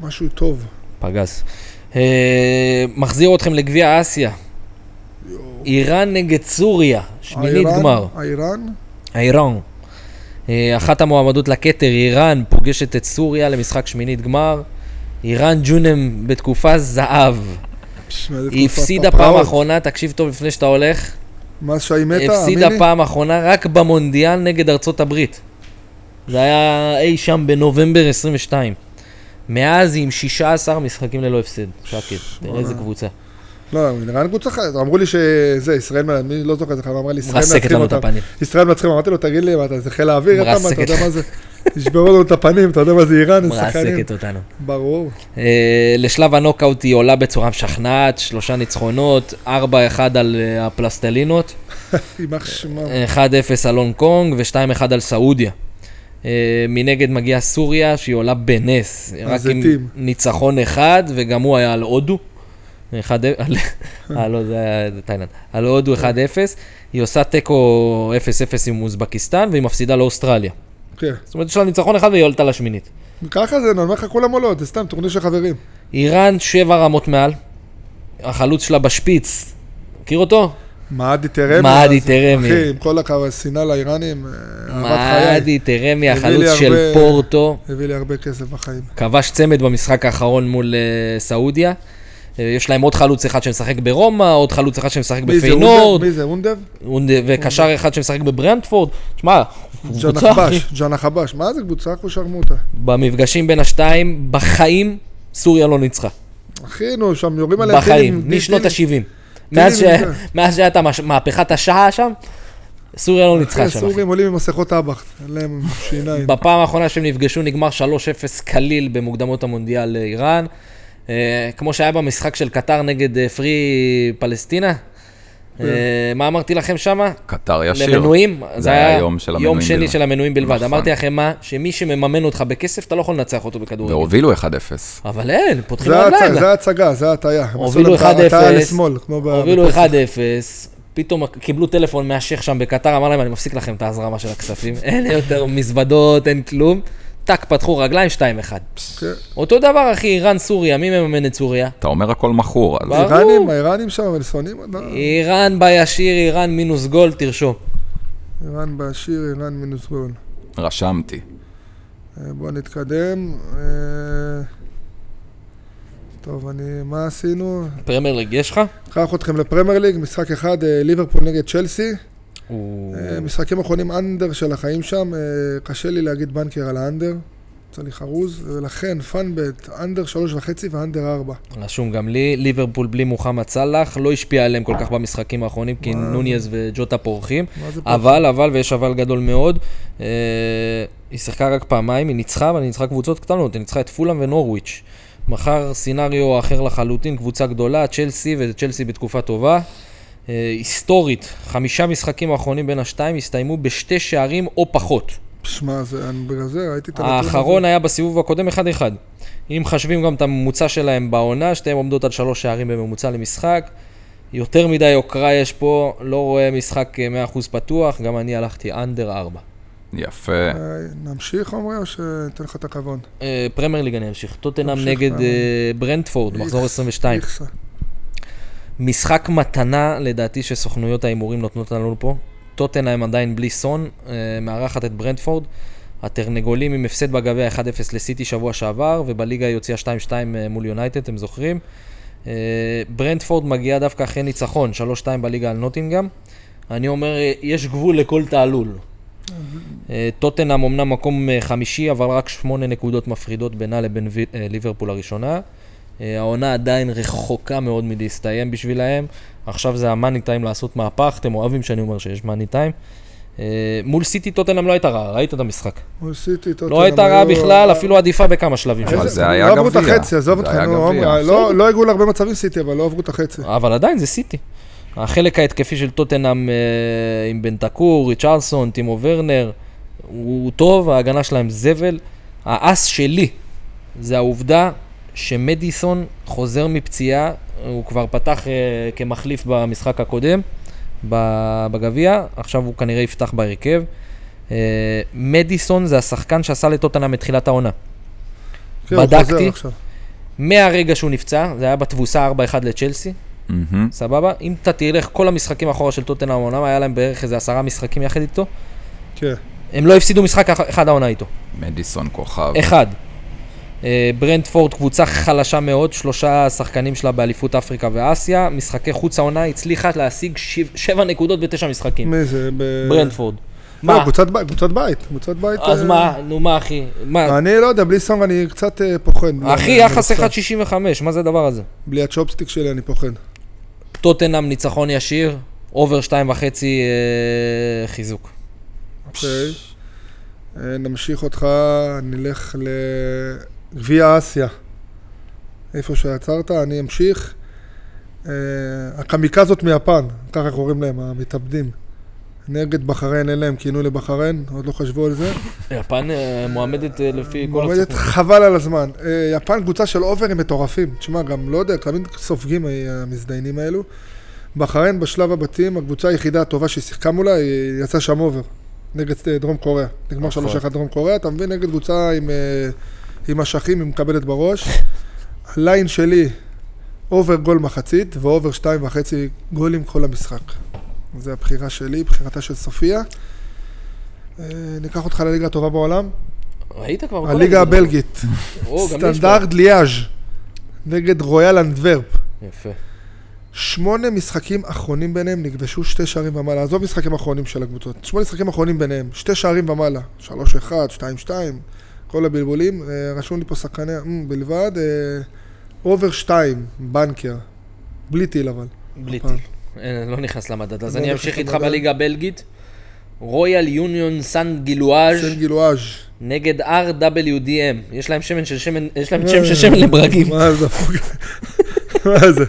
Speaker 2: משהו טוב.
Speaker 3: פגז. אה, מחזיר אתכם לגביע אסיה. איראן נגד סוריה, שמינית
Speaker 2: האיראן-
Speaker 3: גמר.
Speaker 2: האיראן?
Speaker 3: איראן. אה, אחת המועמדות לכתר, איראן, פוגשת את סוריה למשחק שמינית גמר. איראן ג'ונם בתקופה זהב.
Speaker 2: שמע, איזה
Speaker 3: היא
Speaker 2: תקופת
Speaker 3: הפסידה פעם
Speaker 2: הפרעות.
Speaker 3: אחרונה, תקשיב טוב לפני שאתה הולך,
Speaker 2: מאז שהיא מתה,
Speaker 3: הפסידה
Speaker 2: אמיני?
Speaker 3: פעם אחרונה רק במונדיאל נגד ארצות הברית. זה היה אי שם בנובמבר 22. מאז היא עם 16 משחקים ללא הפסד. שקט, תראה איזה קבוצה.
Speaker 2: לא, איראן קבוצה אחת, אמרו לי שזה, ישראל, מ- מי לא זוכר את זה, אבל אמרה לי, ישראל
Speaker 3: מרסקת
Speaker 2: מנצחים
Speaker 3: לנו את
Speaker 2: אותם.
Speaker 3: הפנים.
Speaker 2: ישראל מנצחים, אמרתי לו, תגיד לי, מה אתה, זה חיל האוויר, אתה, מה, אתה
Speaker 3: מרסקת.
Speaker 2: יודע מה זה, ישברו לנו את הפנים, אתה יודע מה זה איראן, זה שחקנים.
Speaker 3: מרסקת אותנו.
Speaker 2: ברור.
Speaker 3: אה, לשלב הנוקאוט היא עולה בצורה משכנעת, שלושה ניצחונות, 4-1 על אה, הפלסטלינות,
Speaker 2: יימח שמם.
Speaker 3: 1-0 על הונג קונג ו-2-1 על סעודיה. אה, מנגד מגיעה סוריה, שהיא עולה בנס, רק עם
Speaker 2: הזיתים.
Speaker 3: ניצחון אחד, וגם הוא היה על הודו. 1-0, על- אה, לא, זה היה תאילנד. על הודו 1-0, היא עושה תיקו 0-0 עם אוזבקיסטן, והיא מפסידה לאוסטרליה.
Speaker 2: כן.
Speaker 3: זאת אומרת, יש לה ניצחון אחד והיא עולתה לשמינית.
Speaker 2: ככה זה, אני אומר לך, כולם עולות, זה סתם טורניר של חברים.
Speaker 3: איראן שבע רמות מעל, החלוץ שלה בשפיץ, מכיר אותו?
Speaker 2: מעדי תרמי.
Speaker 3: מעדי
Speaker 2: אז-
Speaker 3: תרמי.
Speaker 2: אחי, עם כל הכ- השנאה לאיראנים, אה, אהבת חיי.
Speaker 3: מעדי תרמי,
Speaker 2: הביא לי
Speaker 3: החלוץ של
Speaker 2: הרבה-
Speaker 3: פורטו,
Speaker 2: הביא לי הרבה כסף בחיים.
Speaker 3: כבש צמד במשחק האחרון מול אה, סעודיה. אה, יש להם עוד חלוץ אחד שמשחק ברומא, עוד חלוץ אחד שמשחק
Speaker 2: מי זה,
Speaker 3: בפיינורד,
Speaker 2: אונדב? מי זה, אונדב?
Speaker 3: אונד- וקשר אחד שמשחק בברנדפורד. שמע,
Speaker 2: ג'אנה
Speaker 3: קבוצה, אחי.
Speaker 2: חבש, ג'אנה חבש. מה זה קבוצה? אחו שרמוטה.
Speaker 3: במפגשים בין השתיים, בחיים סוריה לא ניצחה.
Speaker 2: אחי, נו, שם יורים עליהם.
Speaker 3: בחיים,
Speaker 2: טילים, טיל-
Speaker 3: משנות
Speaker 2: טיל-
Speaker 3: ה-70.
Speaker 2: טילים
Speaker 3: מאז
Speaker 2: מזה.
Speaker 3: שהייתה מהפכת השעה שם, סוריה לא ניצחה שם. אחי.
Speaker 2: הסורים כן, עולים עם מסכות אבח, אין להם שיניים.
Speaker 3: בפעם האחרונה שהם נפגשו נגמר 3-0 קליל במוקדמות המונדיאל לאיראן. אה, כמו שהיה במשחק של קטר נגד אה, פרי פלסטינה.
Speaker 2: כן.
Speaker 3: אה, מה אמרתי לכם שמה?
Speaker 1: קטר ישיר.
Speaker 3: למנויים?
Speaker 1: זה היה יום של המנויים
Speaker 3: יום שני
Speaker 1: בלבד.
Speaker 3: של המנויים בלבד.
Speaker 1: נכון.
Speaker 3: אמרתי לכם מה? שמי שמממן אותך בכסף, אתה לא יכול לנצח אותו בכדורגל.
Speaker 1: והובילו 1-0.
Speaker 3: אבל אין, פותחים
Speaker 2: זה ההצ-
Speaker 3: רגליים.
Speaker 2: זה ההצגה, זה ההטעיה. הם עשו
Speaker 3: הובילו
Speaker 2: להם את ה-
Speaker 3: 1-0,
Speaker 2: הטעיה לשמאל, כמו ב... כן.
Speaker 3: הובילו 1-0,
Speaker 2: בפוסט.
Speaker 3: פתאום קיבלו טלפון מהשייח שם בקטר, אמר להם, אני מפסיק לכם את ההזרמה של הכספים, אין יותר מזוודות, אין כלום. טאק, פתחו רגליים, 2-1.
Speaker 2: כן.
Speaker 3: אותו דבר, אחי, איראן, סוריה, מי מממן את סוריה?
Speaker 1: אתה אומר הכל מכור, אז
Speaker 3: ברור.
Speaker 2: האיראנים, האיראנים שם, אבל שונאים אותם.
Speaker 3: אה. איראן בישיר, איראן מינוס גול, תרשום.
Speaker 2: איראן בעשיר, איראן מינוס גול.
Speaker 1: רשמתי.
Speaker 2: אה, בואו נתקדם. אה, טוב, אני, מה עשינו?
Speaker 3: פרמייר ליג יש לך?
Speaker 2: ניקח אתכם לפרמייר ליג, משחק אחד, אה, ליברפול נגד צ'לסי.
Speaker 3: הוא-
Speaker 2: אה, משחקים אחרונים אנדר של החיים שם, אה, קשה לי להגיד בנקר על האנדר, יצא לי חרוז, ולכן פאנבט, אנדר שלוש וחצי ואנדר ארבע.
Speaker 3: רשום גם לי, ליברפול בלי מוחמד סאלח, לא השפיע עליהם כל כך במשחקים האחרונים, כי נוניז וג'וטה פורחים.
Speaker 2: מה זה פה?
Speaker 3: אבל, אבל, ויש אבל גדול מאוד, אה, היא שיחקה רק פעמיים, היא ניצחה, אבל היא ניצחה קבוצות קטנות, היא ניצחה את פולאם ונורוויץ'. מחר סינריו אחר לחלוטין, קבוצה גדולה, צ'לסי, וצ'לסי בתקופה טובה. אה, היסטורית, חמישה משחקים האחרונים בין השתיים הסתיימו בשתי שערים או פחות.
Speaker 2: שמע, זה- אני- בגלל זה ראיתי את הנתון הזה.
Speaker 3: האחרון היה בסיבוב הקודם 1-1. אם מחשבים גם את הממוצע שלהם בעונה, שתיהן עומדות על שלוש שערים בממוצע למשחק. יותר מדי יוקרה יש פה, לא רואה משחק אה, 100% פתוח, גם אני הלכתי אנדר 4.
Speaker 1: יפה.
Speaker 2: אה, נמשיך עומרי או שניתן לך את הכבוד?
Speaker 3: אה, פרמייר ליג אני אמשיך, טוטנאם
Speaker 2: תמשיך,
Speaker 3: נגד
Speaker 2: פרמייר.
Speaker 3: אה, ברנדפורד,
Speaker 2: איכס,
Speaker 3: מחזור 22.
Speaker 2: איכסה.
Speaker 3: משחק מתנה לדעתי שסוכנויות ההימורים נותנות לנו פה. טוטנאם עדיין בלי סון, אה, מארחת את ברנדפורד. התרנגולים עם הפסד בגביע 1-0 לסיטי שבוע שעבר, ובליגה היא הוציאה 2-2 אה, מול יונייטד, אתם זוכרים? אה, ברנדפורד מגיעה דווקא אחרי ניצחון, 3-2 בליגה על נוטינגאם. אני אומר, אה, יש גבול לכל תעלול. אה, טוטנאם אמנם מקום אה, חמישי, אבל רק שמונה נקודות מפרידות בינה לבין וי- אה, ליברפול הראשונה. אה, העונה עדיין רחוקה מאוד מלהסתיים בשבילהם. עכשיו זה המאני טיים לעשות מהפך, אתם אוהבים שאני אומר שיש מאני טיים. אה, מול סיטי טוטנאם לא הייתה רעה, ראית את המשחק.
Speaker 2: מול סיטי, טוטנאם.
Speaker 3: לא הייתה רעה
Speaker 2: היו-
Speaker 3: בכלל, אפילו עדיפה בכמה שלבים.
Speaker 1: אבל
Speaker 2: איזה-
Speaker 1: זה היה
Speaker 2: לא עברו את
Speaker 1: גביע.
Speaker 2: החצי, עזוב
Speaker 1: זה
Speaker 2: אותך,
Speaker 1: היה
Speaker 2: נו,
Speaker 1: גביע.
Speaker 2: עומר, לא- לא הגיעו להרבה מצבים סיטי, אבל לא עברו את החצי.
Speaker 3: אבל עדיין זה סיטי. החלק ההתקפי של טוטנאם אה, עם בנטקור, ריצ'רלסון, טימו ורנר, הוא טוב, ההגנה שלהם זבל. האס שלי זה העובדה שמדיסון חוזר מפציעה, הוא כבר פתח אה, כמחליף במשחק הקודם, ב- בגביע, עכשיו הוא כנראה יפתח בהרכב. אה, מדיסון זה השחקן שעשה לטוטנאם את תחילת העונה.
Speaker 2: כן, הוא חוזר
Speaker 3: בדקתי.
Speaker 2: עכשיו.
Speaker 3: מהרגע שהוא נפצע, זה היה בתבוסה 4-1 לצ'לסי,
Speaker 1: מהמם.
Speaker 3: סבבה? אם אתה תלך כל המשחקים אחורה של טוטנאם העונה, היה להם בערך איזה עשרה משחקים יחד איתו,
Speaker 2: כן.
Speaker 3: הם לא הפסידו משחק אח- אחד העונה איתו.
Speaker 1: מדיסון כוכב.
Speaker 3: אחד. אה, ברנדפורד קבוצה חלשה מאוד, שלושה שחקנים שלה באליפות אפריקה ואסיה, משחקי חוץ העונה הצליחה להשיג שב- שבע נקודות בתשע משחקים.
Speaker 2: כן. מי זה? ב-
Speaker 3: ברנדפורד.
Speaker 2: לא,
Speaker 3: מה?
Speaker 2: קבוצת בית, קבוצת בית, קבוצת בית.
Speaker 3: אז
Speaker 2: אה,
Speaker 3: מה? נו מה אחי? מה?
Speaker 2: אני לא יודע, בלי סונג אני קצת אה, פוחד.
Speaker 3: אחי,
Speaker 2: אני- אני
Speaker 3: יחס
Speaker 2: קצת-
Speaker 3: 1.65, מה זה הדבר הזה?
Speaker 2: בלי הצ'ופסטיק שלי אני פוחד.
Speaker 3: טוטנאם ניצחון ישיר, אובר שתיים וחצי אה, חיזוק.
Speaker 2: אוקיי. אה, נמשיך אותך, נלך לגביע אסיה. איפה שעצרת, אני אמשיך. אה, הקמיקזות מיפן, ככה קוראים להם, המתאבדים. נגד בחריין, אין להם כינוי לבחריין, עוד לא חשבו על זה.
Speaker 3: יפן אה, מועמדת אה, לפי כל
Speaker 2: עומדת
Speaker 3: הפסוקים.
Speaker 2: חבל על הזמן. אה, יפן קבוצה של אוברים מטורפים. תשמע, גם לא יודע, תמיד סופגים אה, המזדיינים האלו. בחריין בשלב הבתים, הקבוצה היחידה הטובה שהיא שיחקה מולה, היא יצאה שם אובר. נגד אה, דרום קוריאה. נגמר
Speaker 3: נכון.
Speaker 2: 3-1 דרום קוריאה, אתה מבין? נגד קבוצה עם, אה, עם אשכים, היא מקבלת בראש. הליין שלי, אובר גול מחצית, ואובר שתיים וחצי גולים כל המשחק. זו הבחירה שלי, בחירתה של סופיה. אה, ניקח אותך לליגה הטובה בעולם,
Speaker 3: ראית כבר? כל
Speaker 2: הליגה
Speaker 3: הגדולות.
Speaker 2: הבלגית.
Speaker 3: או, גם לי יש כבר.
Speaker 2: סטנדרט ליאז' נגד רויאל אנדוורפ.
Speaker 3: יפה.
Speaker 2: שמונה משחקים אחרונים ביניהם נגבשו שתי שערים ומעלה. עזוב משחקים אחרונים של הקבוצות. שמונה משחקים אחרונים ביניהם, שתי שערים ומעלה. שלוש אחד, שתיים שתיים, כל הבלבולים. אה, רשום לי פה סכנה mm, בלבד. אה, אובר שתיים, בנקר. בלי טיל אבל.
Speaker 3: בלי
Speaker 2: הפעם.
Speaker 3: טיל. אין, לא נכנס למדד. אז
Speaker 2: לא
Speaker 3: אני
Speaker 2: נכנס
Speaker 3: אמשיך איתך
Speaker 2: למדד.
Speaker 3: בליגה הבלגית. רויאל יוניון סן גילואז'
Speaker 2: סן גילואז'.
Speaker 3: נגד RWDM. יש להם שמן של שמן, יש
Speaker 2: אה.
Speaker 3: להם שם של שמן לברגים.
Speaker 2: מה זה? מה זה?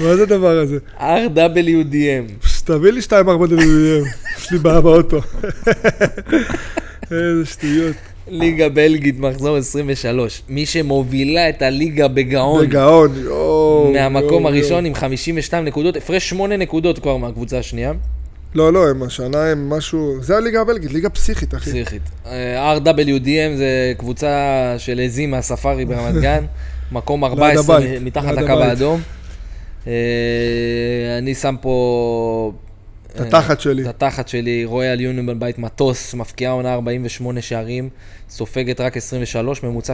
Speaker 2: מה זה הדבר הזה?
Speaker 3: RWDM.
Speaker 2: תביא לי 2-4 דמיונים, יש לי בעיה באוטו. איזה שטויות.
Speaker 3: ליגה בלגית, מחזור 23. מי שמובילה את הליגה בגאון.
Speaker 2: בגאון, יואו.
Speaker 3: מהמקום
Speaker 2: יואו, יואו.
Speaker 3: הראשון עם 52 נקודות, הפרש 8 נקודות כבר מהקבוצה השנייה.
Speaker 2: לא, לא, הם השנה הם משהו... זה הליגה הבלגית, ליגה פסיכית, אחי.
Speaker 3: פסיכית. אה, RWDM זה קבוצה של עזים מהספארי ברמת גן, מקום 14
Speaker 2: הבית,
Speaker 3: מתחת
Speaker 2: ליד
Speaker 3: לקו
Speaker 2: הבית.
Speaker 3: האדום. אה, אני שם פה...
Speaker 2: את
Speaker 3: כן.
Speaker 2: התחת שלי.
Speaker 3: את התחת שלי, רויאל יוניון בן בית מטוס, מפקיעה עונה 48 שערים, סופגת רק 23, ממוצע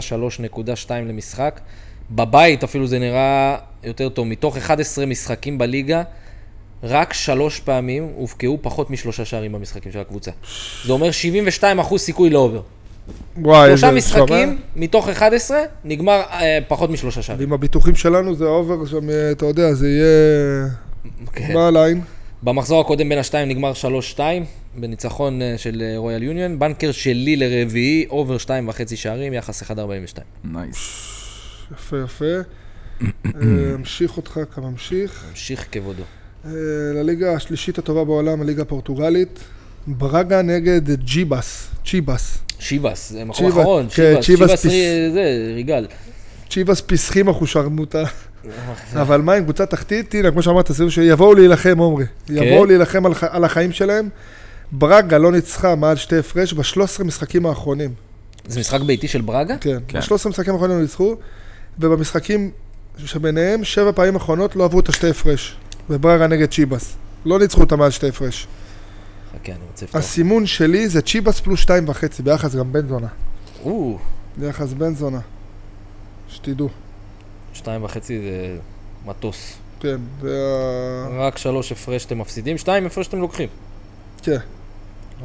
Speaker 3: 3.2 למשחק. בבית אפילו זה נראה יותר טוב, מתוך 11 משחקים בליגה, רק שלוש פעמים הובקעו פחות משלושה שערים במשחקים של הקבוצה. זה אומר 72% סיכוי לאובר.
Speaker 2: וואי,
Speaker 3: שלושה
Speaker 2: איזה
Speaker 3: משחקים,
Speaker 2: שומע.
Speaker 3: מתוך 11, נגמר אה, פחות משלושה שערים.
Speaker 2: ועם הביטוחים שלנו זה אובר שם, אה, אתה יודע, זה יהיה...
Speaker 3: כן.
Speaker 2: מה הליין?
Speaker 3: במחזור הקודם בין השתיים נגמר 3-2, בניצחון אה, של אה, רויאל יוניון. בנקר שלי לרביעי, אובר 2.5 שערים, יחס 1.42.
Speaker 1: נייס.
Speaker 2: יפה, יפה. אה, אמשיך אותך כממשיך.
Speaker 3: המשיך כבודו.
Speaker 2: אה, לליגה השלישית הטובה בעולם, הליגה הפורטוגלית. ברגה נגד ג'יבאס, צ'יבאס.
Speaker 3: שיבאס, זה מקום
Speaker 2: צ'יבאס,
Speaker 3: אחרון.
Speaker 2: כן,
Speaker 3: שיבאס,
Speaker 2: צ'יבאס
Speaker 3: שיבאס,
Speaker 2: פיס.
Speaker 3: רי- זה, ריגל.
Speaker 2: צ'יבאס פיסחים אחושרמוטה.
Speaker 3: כן.
Speaker 2: אבל מה עם קבוצה תחתית? הנה, כמו שאמרת, סיבוב שיבואו להילחם, עומרי. יבואו להילחם על ח- על החיים שלהם. ברגה לא ניצחה מעל שתי הפרש ב-13 משחקים האחרונים.
Speaker 3: זה משחק ביתי של ברגה?
Speaker 2: כן,
Speaker 1: כן.
Speaker 2: ב-13 משחקים האחרונים לא ניצחו, ובמשחקים שביניהם, שבע פעמים האחרונות לא עברו את השתי הפרש. וברגה נגד צ'יבאס. לא ניצחו אותה מעל שתי הפרש.
Speaker 3: חכה, אני רוצה לפתוח.
Speaker 2: הסימון שלי זה צ'יבאס פלוס שתיים וחצי, ביחס גם בן זונה.
Speaker 3: או,
Speaker 2: ביחס בן זונה. שתדעו.
Speaker 3: שתיים וחצי זה מטוס.
Speaker 2: כן, זה ה...
Speaker 3: רק שלוש הפרש אתם מפסידים, שתיים הפרש אתם לוקחים.
Speaker 2: כן.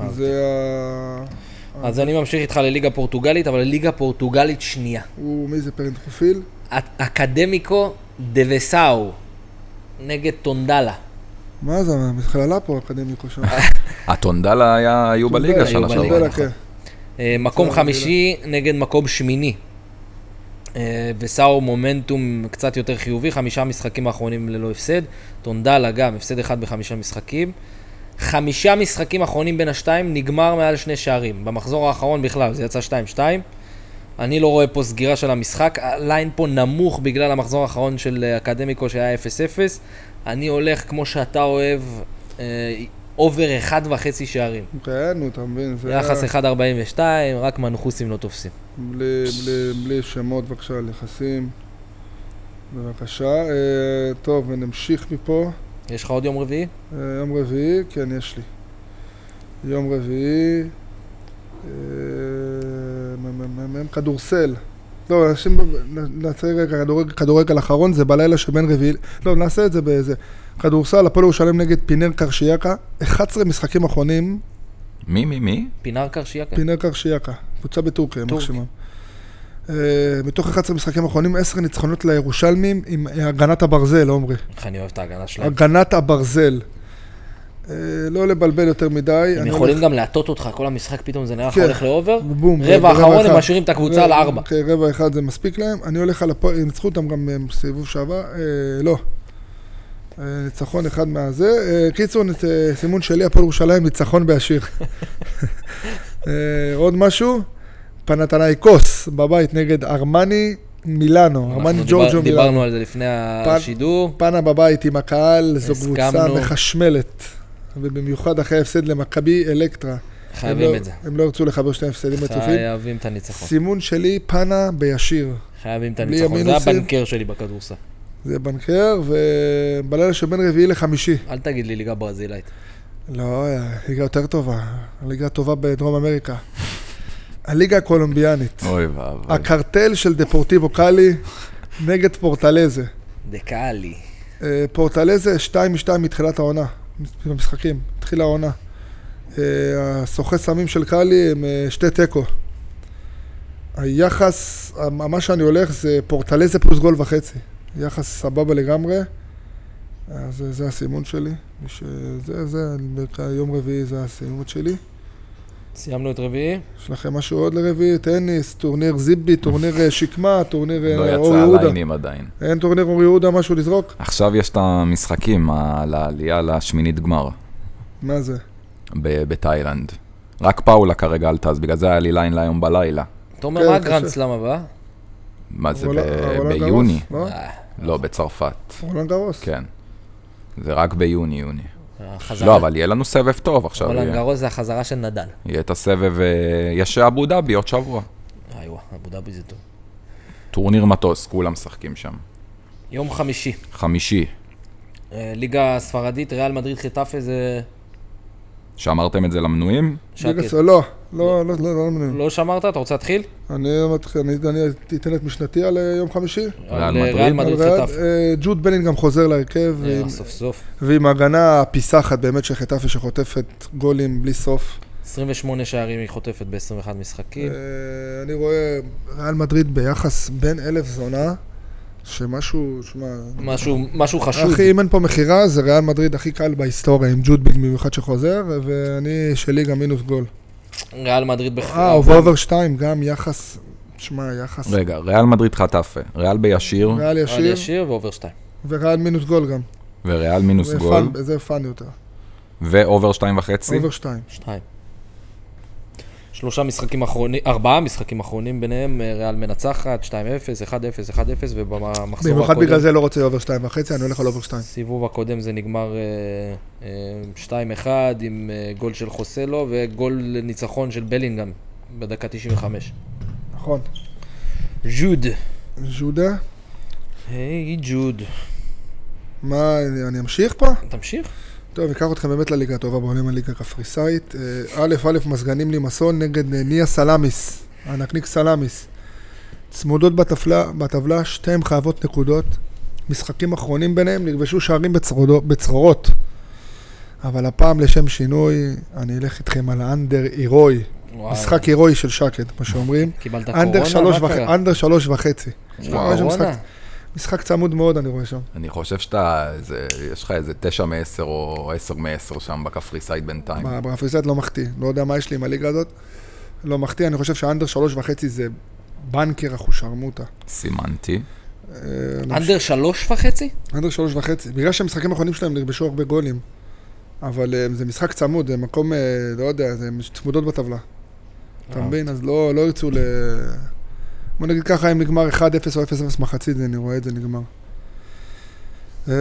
Speaker 3: אה,
Speaker 2: זה ה...
Speaker 3: אז אני ממשיך איתך לליגה פורטוגלית, אבל לליגה פורטוגלית שנייה.
Speaker 2: הוא, מי זה פרנטרופיל?
Speaker 3: אק- אקדמיקו דה וסאו נגד טונדלה.
Speaker 2: מה זה, המכללה פה, אקדמיקו שם.
Speaker 1: הטונדלה היה, היו בליגה
Speaker 3: היו
Speaker 1: שנה
Speaker 3: אה, בליגה.
Speaker 1: שעברה.
Speaker 2: טונדלה,
Speaker 1: נכון.
Speaker 2: כן.
Speaker 3: אה, מקום
Speaker 2: בסדר,
Speaker 3: חמישי נגד מקום שמיני. אה, וסאו מומנטום קצת יותר חיובי, חמישה משחקים האחרונים ללא הפסד. טונדלה גם, הפסד אחד בחמישה משחקים. חמישה משחקים אחרונים בין השתיים נגמר מעל שני שערים. במחזור האחרון בכלל, זה יצא 2-2. אני לא רואה פה סגירה של המשחק. הליין פה נמוך בגלל המחזור האחרון של אה, אקדמיקו שהיה 0-0. אני הולך, כמו שאתה אוהב, אה, אובר אחד וחצי שערים.
Speaker 2: ראיינו, כן, אתה מבין? זה
Speaker 3: יחס
Speaker 2: היה
Speaker 3: 1.42, רק מנחוסים לא תופסים.
Speaker 2: בלי, בלי, בלי שמות, בבקשה, על יחסים. בבקשה. אה, טוב, ונמשיך מפה.
Speaker 3: יש לך עוד יום רביעי?
Speaker 2: אה, יום רביעי, כן, יש לי. יום רביעי, אה, מ- מ- מ- מ- כדורסל. לא, אנשים, ב- נ- נעשה רגע כדורגל- כדורגל אחרון, זה בלילה שבין רביעי, לא, נעשה את זה באיזה. כדורסל, הפועל ירושלים נגד פינר קרשיאקה, 11 משחקים אחרונים,
Speaker 1: מי, מי, מי?
Speaker 3: פינר קרשיאקה?
Speaker 2: פינר קרשיאקה, קבוצה בטורקיה,
Speaker 3: טורקיה.
Speaker 2: יימח שמם. אה, מתוך 11 משחקים אחרונים, 10 ניצחונות לירושלמים עם הגנת הברזל, עומרי.
Speaker 3: איך אני אוהב את ההגנה שלהם.
Speaker 2: הגנת הברזל. אה, לא לבלבל יותר מדי.
Speaker 3: הם
Speaker 2: אני
Speaker 3: יכולים גם להטות אותך, כל המשחק פתאום זה נראה לך
Speaker 2: כן.
Speaker 3: הולך לאובר.
Speaker 2: בום,
Speaker 3: רבע אחרון הם
Speaker 2: אחד.
Speaker 3: משאירים את הקבוצה על ארבע.
Speaker 2: כן, רבע אחד זה מספיק להם. אני הולך על הפועל, הם ניצחו אותם גם אה, בסיבוב שעבר, אה, לא. אה, ניצחון אחד מהזה. אה, קיצור, ניצ- אה, סימון שלי, הפועל ירושלים, ניצחון בעשיר. אה, עוד משהו? פנתנאיקוס, בבית נגד ארמני מילאנו,
Speaker 3: אנחנו
Speaker 2: ארמני
Speaker 3: דיבר-
Speaker 2: ג'ורג'ו מילאנו.
Speaker 3: דיברנו על זה לפני השידור.
Speaker 2: פנה בבית עם הקהל, זו קבוצה
Speaker 3: הסכמנו.
Speaker 2: מחשמלת. ובמיוחד אחרי הפסד למכבי אלקטרה. הם
Speaker 3: חייבים
Speaker 2: לא-
Speaker 3: את זה.
Speaker 2: הם לא ירצו לחבר שני הפסדים רצופים.
Speaker 3: חייבים את הניצחון.
Speaker 2: סימון שלי, פנה בישיר.
Speaker 3: חייבים את
Speaker 2: בלי
Speaker 3: הניצחון. זה
Speaker 2: המינוסים.
Speaker 3: הבנקר שלי בכדורסל.
Speaker 2: זה בנקר, ובלילה שבין רביעי לחמישי.
Speaker 3: אל תגיד לי ליגה ברזילאית.
Speaker 2: לא, הליגה יותר טובה. הליגה הטובה בדרום אמריקה. הליגה הקולומביאנית.
Speaker 1: אוי ואבוי.
Speaker 2: הקרטל של דפורטיבו קאלי נגד פורטלזה.
Speaker 3: דקאלי.
Speaker 2: אה, פורטלזה 2 מ-2 מתחילת העונה, במשחקים, התחילה העונה. אה, הסוחי סמים של קאלי הם אה, שתי תיקו. היחס, המ- מה שאני הולך זה פורטלזה פלוס גול וחצי. יחס סבבה לגמרי. אה, זה, זה הסימון שלי. מי ש- זה, זה, אני- יום רביעי זה הסימון שלי.
Speaker 3: סיימנו את רביעי?
Speaker 2: יש לכם משהו עוד לרביעי? טניס, טורניר זיבי, טורניר אה, שקמה, טורניר אה,
Speaker 1: לא
Speaker 2: אור
Speaker 1: יצא
Speaker 2: יהודה.
Speaker 1: הליינים עדיין.
Speaker 2: אין טורניר אור יהודה, משהו לזרוק?
Speaker 1: עכשיו יש את המשחקים ה- על העלייה לשמינית גמר
Speaker 2: מה זה?
Speaker 1: ב- בתאילנד. רק פאולה כרגע עלתה, אז בגלל זה היה לי ליין להיום בלילה.
Speaker 3: תומר,
Speaker 2: כן,
Speaker 3: מה
Speaker 2: קשה.
Speaker 3: הגרנדסלאם הבא?
Speaker 1: מה זה,
Speaker 2: רולנד-
Speaker 1: ב-
Speaker 2: רולנד גרוס,
Speaker 1: ביוני?
Speaker 2: לא?
Speaker 3: אה,
Speaker 1: לא, בצרפת,
Speaker 2: רולנד גרוס.
Speaker 1: כן. זה רק ביוני, יוני.
Speaker 3: החזרה.
Speaker 1: לא, אבל יהיה לנו סבב טוב עכשיו.
Speaker 3: רולנד
Speaker 1: יהיה-
Speaker 3: גרוס זה החזרה של נדל.
Speaker 1: יהיה את הסבב, אה, יש אבו דאבי עוד שבוע.
Speaker 3: איי וואי, אבו דאבי זה טוב.
Speaker 1: טורניר מטוס, כולם משחקים שם.
Speaker 3: יום חמישי,
Speaker 1: חמישי,
Speaker 3: אה, ליגה הספרדית, ריאל מדריד חטאפה זה
Speaker 1: שאמרתם את זה למנויים?
Speaker 2: ליגה
Speaker 3: שקט.
Speaker 2: ס- לא, לא, לא, לא, לא, לא.
Speaker 3: לא שמרת? אתה רוצה להתחיל?
Speaker 2: אני מתחיל, אני אני תיתן את משנתי על אה, יום חמישי.
Speaker 1: ריאל
Speaker 3: על, אה,
Speaker 1: מדריד?
Speaker 3: ריאל
Speaker 2: על
Speaker 3: מדריד
Speaker 2: ריאל.
Speaker 3: חטאפה.
Speaker 2: אה, ג'וד בלינגהם חוזר להרכב,
Speaker 3: אה,
Speaker 2: ועם-
Speaker 3: סוף סוף.
Speaker 2: ועם הגנה פיסחת באמת של חטאפי שחוטפת גולים בלי סוף.
Speaker 3: 28 שערים היא חוטפת ב-21 משחקים.
Speaker 2: אה, אני רואה ריאל מדריד ביחס בין אלף זונה, שמשהו, שמע...
Speaker 3: משהו משהו חשוב.
Speaker 2: אחי, אם אין פה מכירה, זה ריאל מדריד הכי קל בהיסטוריה, עם ג'וד בלינג במיוחד שחוזר, ואני שלי גם מינוס גול.
Speaker 3: ריאל מדריד
Speaker 2: אה,
Speaker 3: בחטאפה.
Speaker 2: ובאובר 2 גם יחס, שמע, יחס...
Speaker 1: רגע, ריאל מדריד חטאפה, ריאל בישיר
Speaker 2: ריאל
Speaker 3: ריאל
Speaker 2: ישיר,
Speaker 3: ישיר ואובר 2.
Speaker 2: וריאל מינוס גול גם.
Speaker 1: וריאל מינוס
Speaker 2: זה
Speaker 1: גול,
Speaker 2: פאן- זה פאן יותר.
Speaker 1: ואובר שתיים וחצי.
Speaker 2: אובר 2.
Speaker 3: 2. שלושה משחקים אחרונים, ארבעה משחקים אחרונים ביניהם, אה, ריאל מנצחת, 2-0, 1-0, 1-0, ובמחזור
Speaker 2: במיוחד בגלל
Speaker 3: הקודם,
Speaker 2: זה לא רוצה אובר 2 וחצי, אני הולך על אובר 2.
Speaker 3: סיבוב הקודם זה נגמר אה, אה, 2-1 עם אה, גול של חוסלו וגול ניצחון של בלינגהם בדקה 95.
Speaker 2: נכון.
Speaker 3: ג'וד.
Speaker 2: ז'ודה,
Speaker 3: היי ג'וד.
Speaker 2: מה, אני- אני אמשיך פה?
Speaker 3: תמשיך.
Speaker 2: טוב, אקח אתכם באמת לליגה הטובה בעולם, הליגה הקפריסאית. אה, א', א', מזגנים לי מסון נגד אה, ניה סלמיס, הנקניק סלמיס. צמודות בטבלה, בטבלה, שתיהן חייבות נקודות. משחקים אחרונים ביניהם, נכבשו שערים בצרודו- בצרורות. אבל הפעם לשם שינוי, אני אלך איתכם על האנדר אירוי.
Speaker 3: וואו,
Speaker 2: משחק הירואי של שקד, מה שאומרים.
Speaker 3: קיבלת קורונה?
Speaker 2: אנדר שלוש
Speaker 3: מה
Speaker 2: וחצי,
Speaker 3: קרה?
Speaker 2: אנדר שלוש וחצי.
Speaker 3: יש לך
Speaker 1: וואו,
Speaker 2: יש שם משחק.
Speaker 3: קורונה?
Speaker 2: משחק צמוד מאוד, אני רואה שם.
Speaker 1: אני חושב שאתה, זה- יש לך איזה תשע מעשר או עשר מעשר שם בקפריסאית בינתיים.
Speaker 2: מה, ברפיסט לא מחטיא, לא יודע מה יש לי עם הליגה הזאת. לא מחטיא, אני חושב שהאנדר שלוש וחצי זה בנקר אחושרמוטה.
Speaker 1: סימנתי.
Speaker 2: אה, לא,
Speaker 3: אנדר שלוש וחצי?
Speaker 2: אנדר שלוש וחצי. בגלל שהמשחקים האחרונים שלהם נכבשו הרבה גולים, אבל אה, זה משחק צמוד, זה מקום, אה, לא יודע, זה מש- צמודות בטבלה. אתה מבין? אז לא לא ירצו ל... בוא נגיד ככה, אם נגמר 1-0 או 0-0 מחצית, אני רואה את זה נגמר. אה,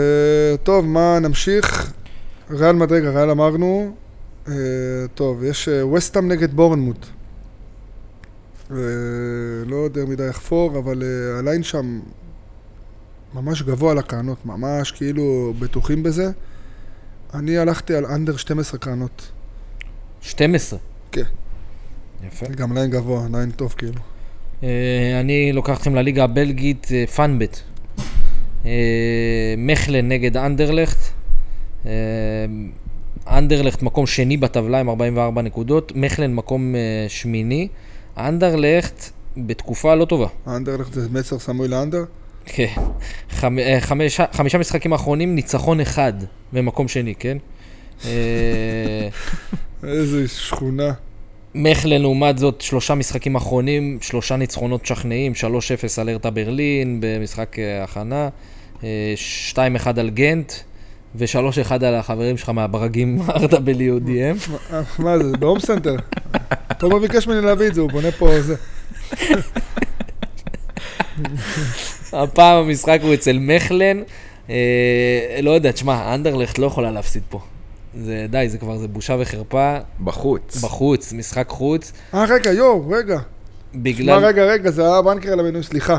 Speaker 2: טוב, מה נמשיך? ריאל מדרגה, ריאל אמרנו. אה, טוב, יש אה, וסטאם נגד בורנמוט. אה, לא יותר מדי לחפור, אבל אה, הליין שם ממש גבוה על הקרנות, ממש כאילו בטוחים בזה. אני הלכתי על אנדר 12 קרנות.
Speaker 3: 12.
Speaker 2: כן.
Speaker 3: יפה.
Speaker 2: גם ליין גבוה, ליין טוב כאילו.
Speaker 3: אה, אני לוקח אתכם לליגה הבלגית, אה, פאנבט. אה, מכלן נגד אנדרלכט. אה, אנדרלכט מקום שני בטבלה עם 44 נקודות, מכלן מקום אה, שמיני. אנדרלכט בתקופה לא טובה.
Speaker 2: האנדרלכט זה מסר סמוי לאנדר?
Speaker 3: כן. חמ- אה, חמישה- חמישה משחקים האחרונים, ניצחון אחד במקום שני, כן? אה,
Speaker 2: איזה שכונה.
Speaker 3: מכלן לעומת זאת, שלושה משחקים אחרונים, שלושה ניצחונות משכנעים, 3-0 על ארטה ברלין במשחק אה, הכנה, אה, 2-1 על גנט, ו-3-1 על החברים שלך מהברגים ארטה בליודיהם.
Speaker 2: מה- מה זה, בהום סנטר? תומר ביקש ממני להביא את זה, הוא בונה פה זה.
Speaker 3: הפעם המשחק הוא אצל מכלן. אה, לא יודע, תשמע, אנדרלכט לא יכולה להפסיד פה. זה די, זה כבר, זה בושה וחרפה.
Speaker 1: בחוץ.
Speaker 3: בחוץ, משחק חוץ.
Speaker 2: אה, רגע, יואו, רגע. מה,
Speaker 3: בגלל...
Speaker 2: רגע, רגע, זה היה בנקר על המינוי, סליחה.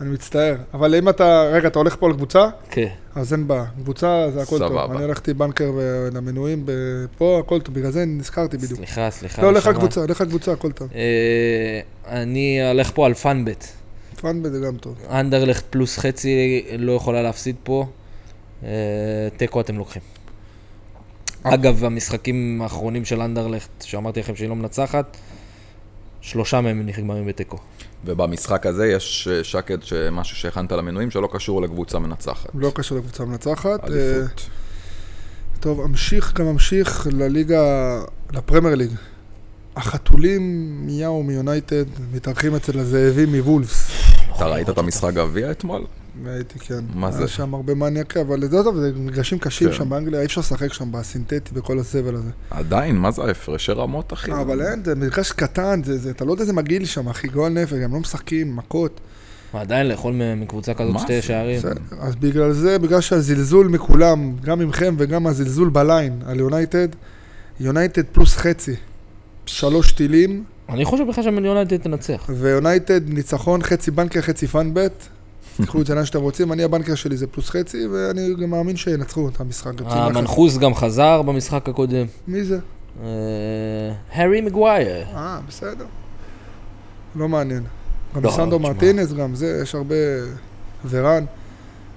Speaker 2: אני מצטער. אבל אם אתה, רגע, אתה הולך פה לקבוצה?
Speaker 3: כן.
Speaker 2: אז אין בעיה. קבוצה זה הכל טוב.
Speaker 1: סבבה.
Speaker 2: אני הלכתי בנקר ו- למנויים ב- פה, הכל טוב. בגלל זה נזכרתי בדיוק.
Speaker 3: סליחה, סליחה.
Speaker 2: לא, לך
Speaker 3: נשמה.
Speaker 2: לקבוצה, לך לקבוצה, הכל טוב.
Speaker 3: אה, אני אלך פה על פאנבט.
Speaker 2: פאנבד זה גם טוב.
Speaker 3: אנדרלכט פלוס חצי לא יכולה להפסיד פה. אה, תיקו אתם לוקחים.
Speaker 2: אה.
Speaker 3: אגב, המשחקים האחרונים של אנדרלכט, שאמרתי לכם שהיא לא מנצחת, שלושה מהם נגמרים בתיקו.
Speaker 1: ובמשחק הזה יש אה, שקד, משהו שהכנת למנויים שלא קשור לקבוצה מנצחת.
Speaker 2: לא קשור לקבוצה מנצחת. אה,
Speaker 1: עדיפות.
Speaker 2: טוב, אמשיך גם אמשיך לליגה, לפרמייר ליג. החתולים מיהו מיונייטד מתארחים אצל הזאבים מוולפס.
Speaker 1: אתה ראית את המשחק גביע אתמול?
Speaker 2: הייתי, כן.
Speaker 1: מה זה?
Speaker 2: היה שם הרבה מניאקי, אבל זה טוב, זה מגרשים קשים
Speaker 1: כן.
Speaker 2: שם באנגליה, אי אפשר לשחק שם בסינתטי וכל הסבל הזה.
Speaker 1: עדיין, מה זה ההפרשי רמות, אחי?
Speaker 2: אה, אבל אין, זה מגרש קטן, זה- זה- אתה לא יודע איזה מגעיל שם, אחי, גועל נפש, גם לא משחקים, מכות.
Speaker 3: עדיין לאכול מ- מקבוצה כזאת
Speaker 1: מה
Speaker 3: שתי
Speaker 1: זה?
Speaker 3: שערים.
Speaker 2: בסדר, אז בגלל זה, בגלל שהזלזול מכולם, גם ממכם וגם הזלזול בליין על יונייטד, יונייטד פלוס חצי. שלוש טילים,
Speaker 3: אני חושב בכלל שמיליונלד תנצח.
Speaker 2: ויונייטד ניצחון, חצי בנקר, חצי פאנבט. תקחו את זה לאן שאתם רוצים, אני הבנקר שלי זה פלוס חצי, ואני גם מאמין שינצחו את המשחק. גם
Speaker 3: אה,
Speaker 2: צריכים לקחת.
Speaker 3: המנחוס גם חזר במשחק הקודם.
Speaker 2: מי זה?
Speaker 3: אה, הארי מגווייר.
Speaker 2: אה, בסדר. לא מעניין. גם
Speaker 3: לא,
Speaker 2: סנדו
Speaker 3: תשמע.
Speaker 2: מרטינס, גם זה, יש הרבה... ורן.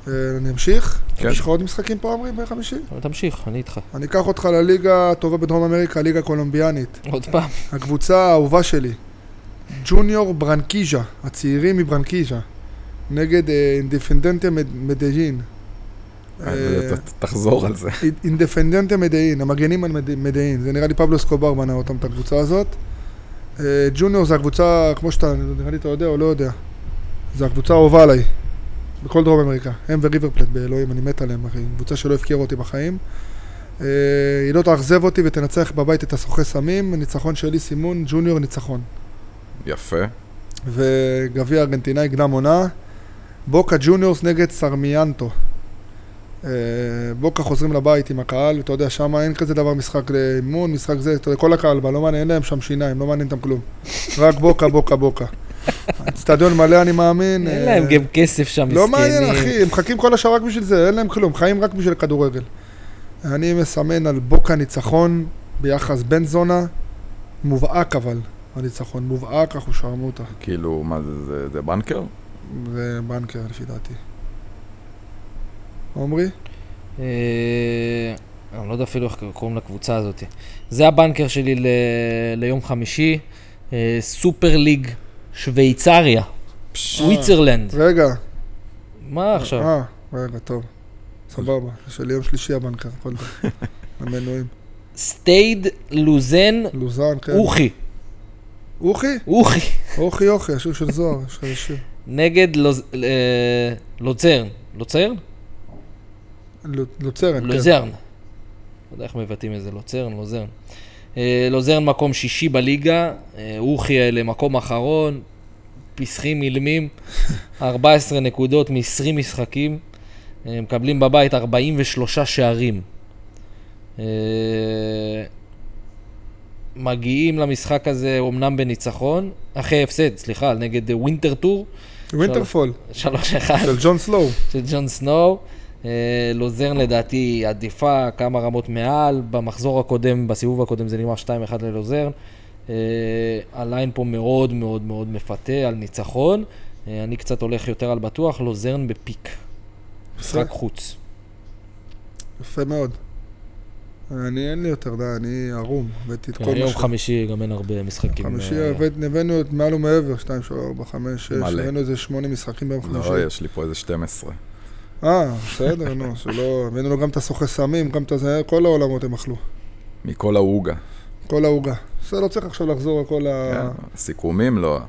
Speaker 2: אה, אני אמשיך?
Speaker 1: כן.
Speaker 2: יש לך עוד משחקים פה, אמרי, בחמישי?
Speaker 3: אבל תמשיך, אני איתך.
Speaker 2: אני אקח אותך לליגה הטובה בדרום אמריקה, הליגה הקולומביאנית.
Speaker 3: עוד פעם.
Speaker 2: הקבוצה האהובה שלי, ג'וניור ברנקיז'ה, הצעירים מברנקיז'ה, נגד אה, אינדיפנדנטה מד- מדג'ין. אה.
Speaker 1: אז ת- ת- אה, תחזור על זה.
Speaker 2: אינדפנדנטה מדעין, המגנים על מד- מדעין, זה נראה לי פבלו סקובר בנה אותם, את הקבוצה הזאת. אה, ג'וניור זה הקבוצה, כמו שאתה, נראה לי אתה יודע או לא יודע, זה הקבוצה האהובה עליי, בכל דרום אמריקה. הם וריברפלט, באלוהים, אני מת עליהם, אחי, קבוצה שלא הפקירה אותי בחיים. אה, היא לא תאכזב אותי ותנצח בבית את הסוחי סמים, ניצחון שלי סימון, ג'וניור ניצחון.
Speaker 1: יפה.
Speaker 2: וגביע ארגנטינאי קדם עונה, בוקה ג'וניורס נגד סרמיאנטו. אה, בוקה חוזרים לבית עם הקהל, אתה יודע, שם אין כזה דבר משחק לאימון, משחק זה, אתה יודע, כל הקהל בא, לא מעניין, אין להם שם שיניים, לא מעניין אותם כלום. רק בוקה, בוקה, בוקה. אצטדיון מלא, אני מאמין.
Speaker 3: אין
Speaker 2: אה,
Speaker 3: להם גם כסף שם, מסכנים.
Speaker 2: לא מעניין, אחי, הם מחכים כל השעה רק בשביל זה, אין להם כלום, חיים רק בשביל כדורגל. אני מסמן על בוקה ניצחון ביחס בן זונה, מובהק אבל, הניצחון, מובהק, אנחנו שרמו אותה.
Speaker 1: כאילו, מה זה, זה, זה בנקר?
Speaker 2: לא זה בנקר לפי דעתי. עומרי?
Speaker 3: אה, אני לא יודע אפילו איך קוראים לקבוצה הזאת. זה הבנקר שלי ל... ליום חמישי, אה, סופר ליג שוויצריה, סוויצרלנד.
Speaker 2: רגע,
Speaker 3: מה עכשיו?
Speaker 2: אה, רגע, טוב. סבבה, זה של יום שלישי הבנקר, כל דבר. המנויים.
Speaker 3: סטייד לוזן
Speaker 2: לוזן, כן.
Speaker 3: אוכי.
Speaker 2: אוכי?
Speaker 3: אוכי.
Speaker 2: אוכי, אוכי, השיר של זוהר, יש לך איזה שיר.
Speaker 3: נגד לוז- אה, לוצרן. לוצרן?
Speaker 2: ל- לוצרן, כן.
Speaker 3: לוזרן. לא יודע איך מבטאים את זה, לא לוצרן, לוזרן. אה, לוזרן מקום שישי בליגה, אה, אוכי האלה מקום אחרון, פיסחים אילמים, 14 נקודות מ-20 משחקים, אה, מקבלים בבית 43 שערים. אה, מגיעים למשחק הזה אומנם בניצחון, אחרי הפסד, סליחה, נגד אה, ווינטר טור,
Speaker 2: ווינטרפול,
Speaker 3: 3-1.
Speaker 2: של ג'ון סלואו.
Speaker 3: של ג'ון סנואו. אה, לוזרן לדעתי עדיפה כמה רמות מעל, במחזור הקודם, בסיבוב הקודם זה נגמר 2-1 ללוזרן. אה, הליין פה מאוד מאוד מאוד מפתה על ניצחון. אה, אני קצת הולך יותר על בטוח, לוזרן בפיק, משחק חוץ.
Speaker 2: יפה מאוד. אני, אין לי יותר, די, אני ערום. הבאתי את כל מה
Speaker 3: כן, יום
Speaker 2: ש...
Speaker 3: חמישי גם אין הרבה משחקים.
Speaker 2: חמישי
Speaker 3: אה,
Speaker 2: הבאת- הבאנו את מעל ומעבר, 2, 3, 4, 5, 6,
Speaker 1: מלא.
Speaker 2: הבאנו איזה 8 משחקים ביום חמישי.
Speaker 1: לא, יש לי פה איזה 12.
Speaker 2: אה, בסדר, נו, שלא... הבאנו לו גם את הסוחי סמים, גם את הזה, כל העולמות הם אכלו.
Speaker 1: מכל העוגה.
Speaker 2: כל העוגה. בסדר, לא צריך עכשיו לחזור על כל ה...
Speaker 1: כן. הסיכומים, לא.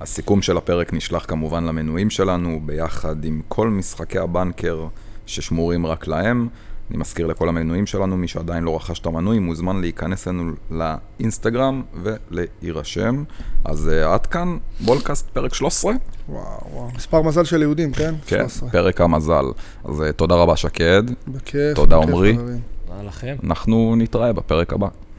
Speaker 1: הסיכום של הפרק נשלח כמובן למנויים שלנו, ביחד עם כל משחקי הבנקר ששמורים רק להם. אני מזכיר לכל המנויים שלנו, מי שעדיין לא רכש את המנוי, מוזמן להיכנס אלינו לאינסטגרם ולהירשם. אז אה, עד כאן, בולקאסט פרק 13.
Speaker 2: כן. וואו, וואו. מספר מזל של יהודים, כן?
Speaker 1: כן,
Speaker 2: 13.
Speaker 1: פרק המזל. אז אה, תודה רבה שקד,
Speaker 2: בכיף.
Speaker 1: תודה,
Speaker 2: בכיף,
Speaker 1: עמרי.
Speaker 2: חברים.
Speaker 3: אה, לכם.
Speaker 1: אנחנו נתראה בפרק הבא.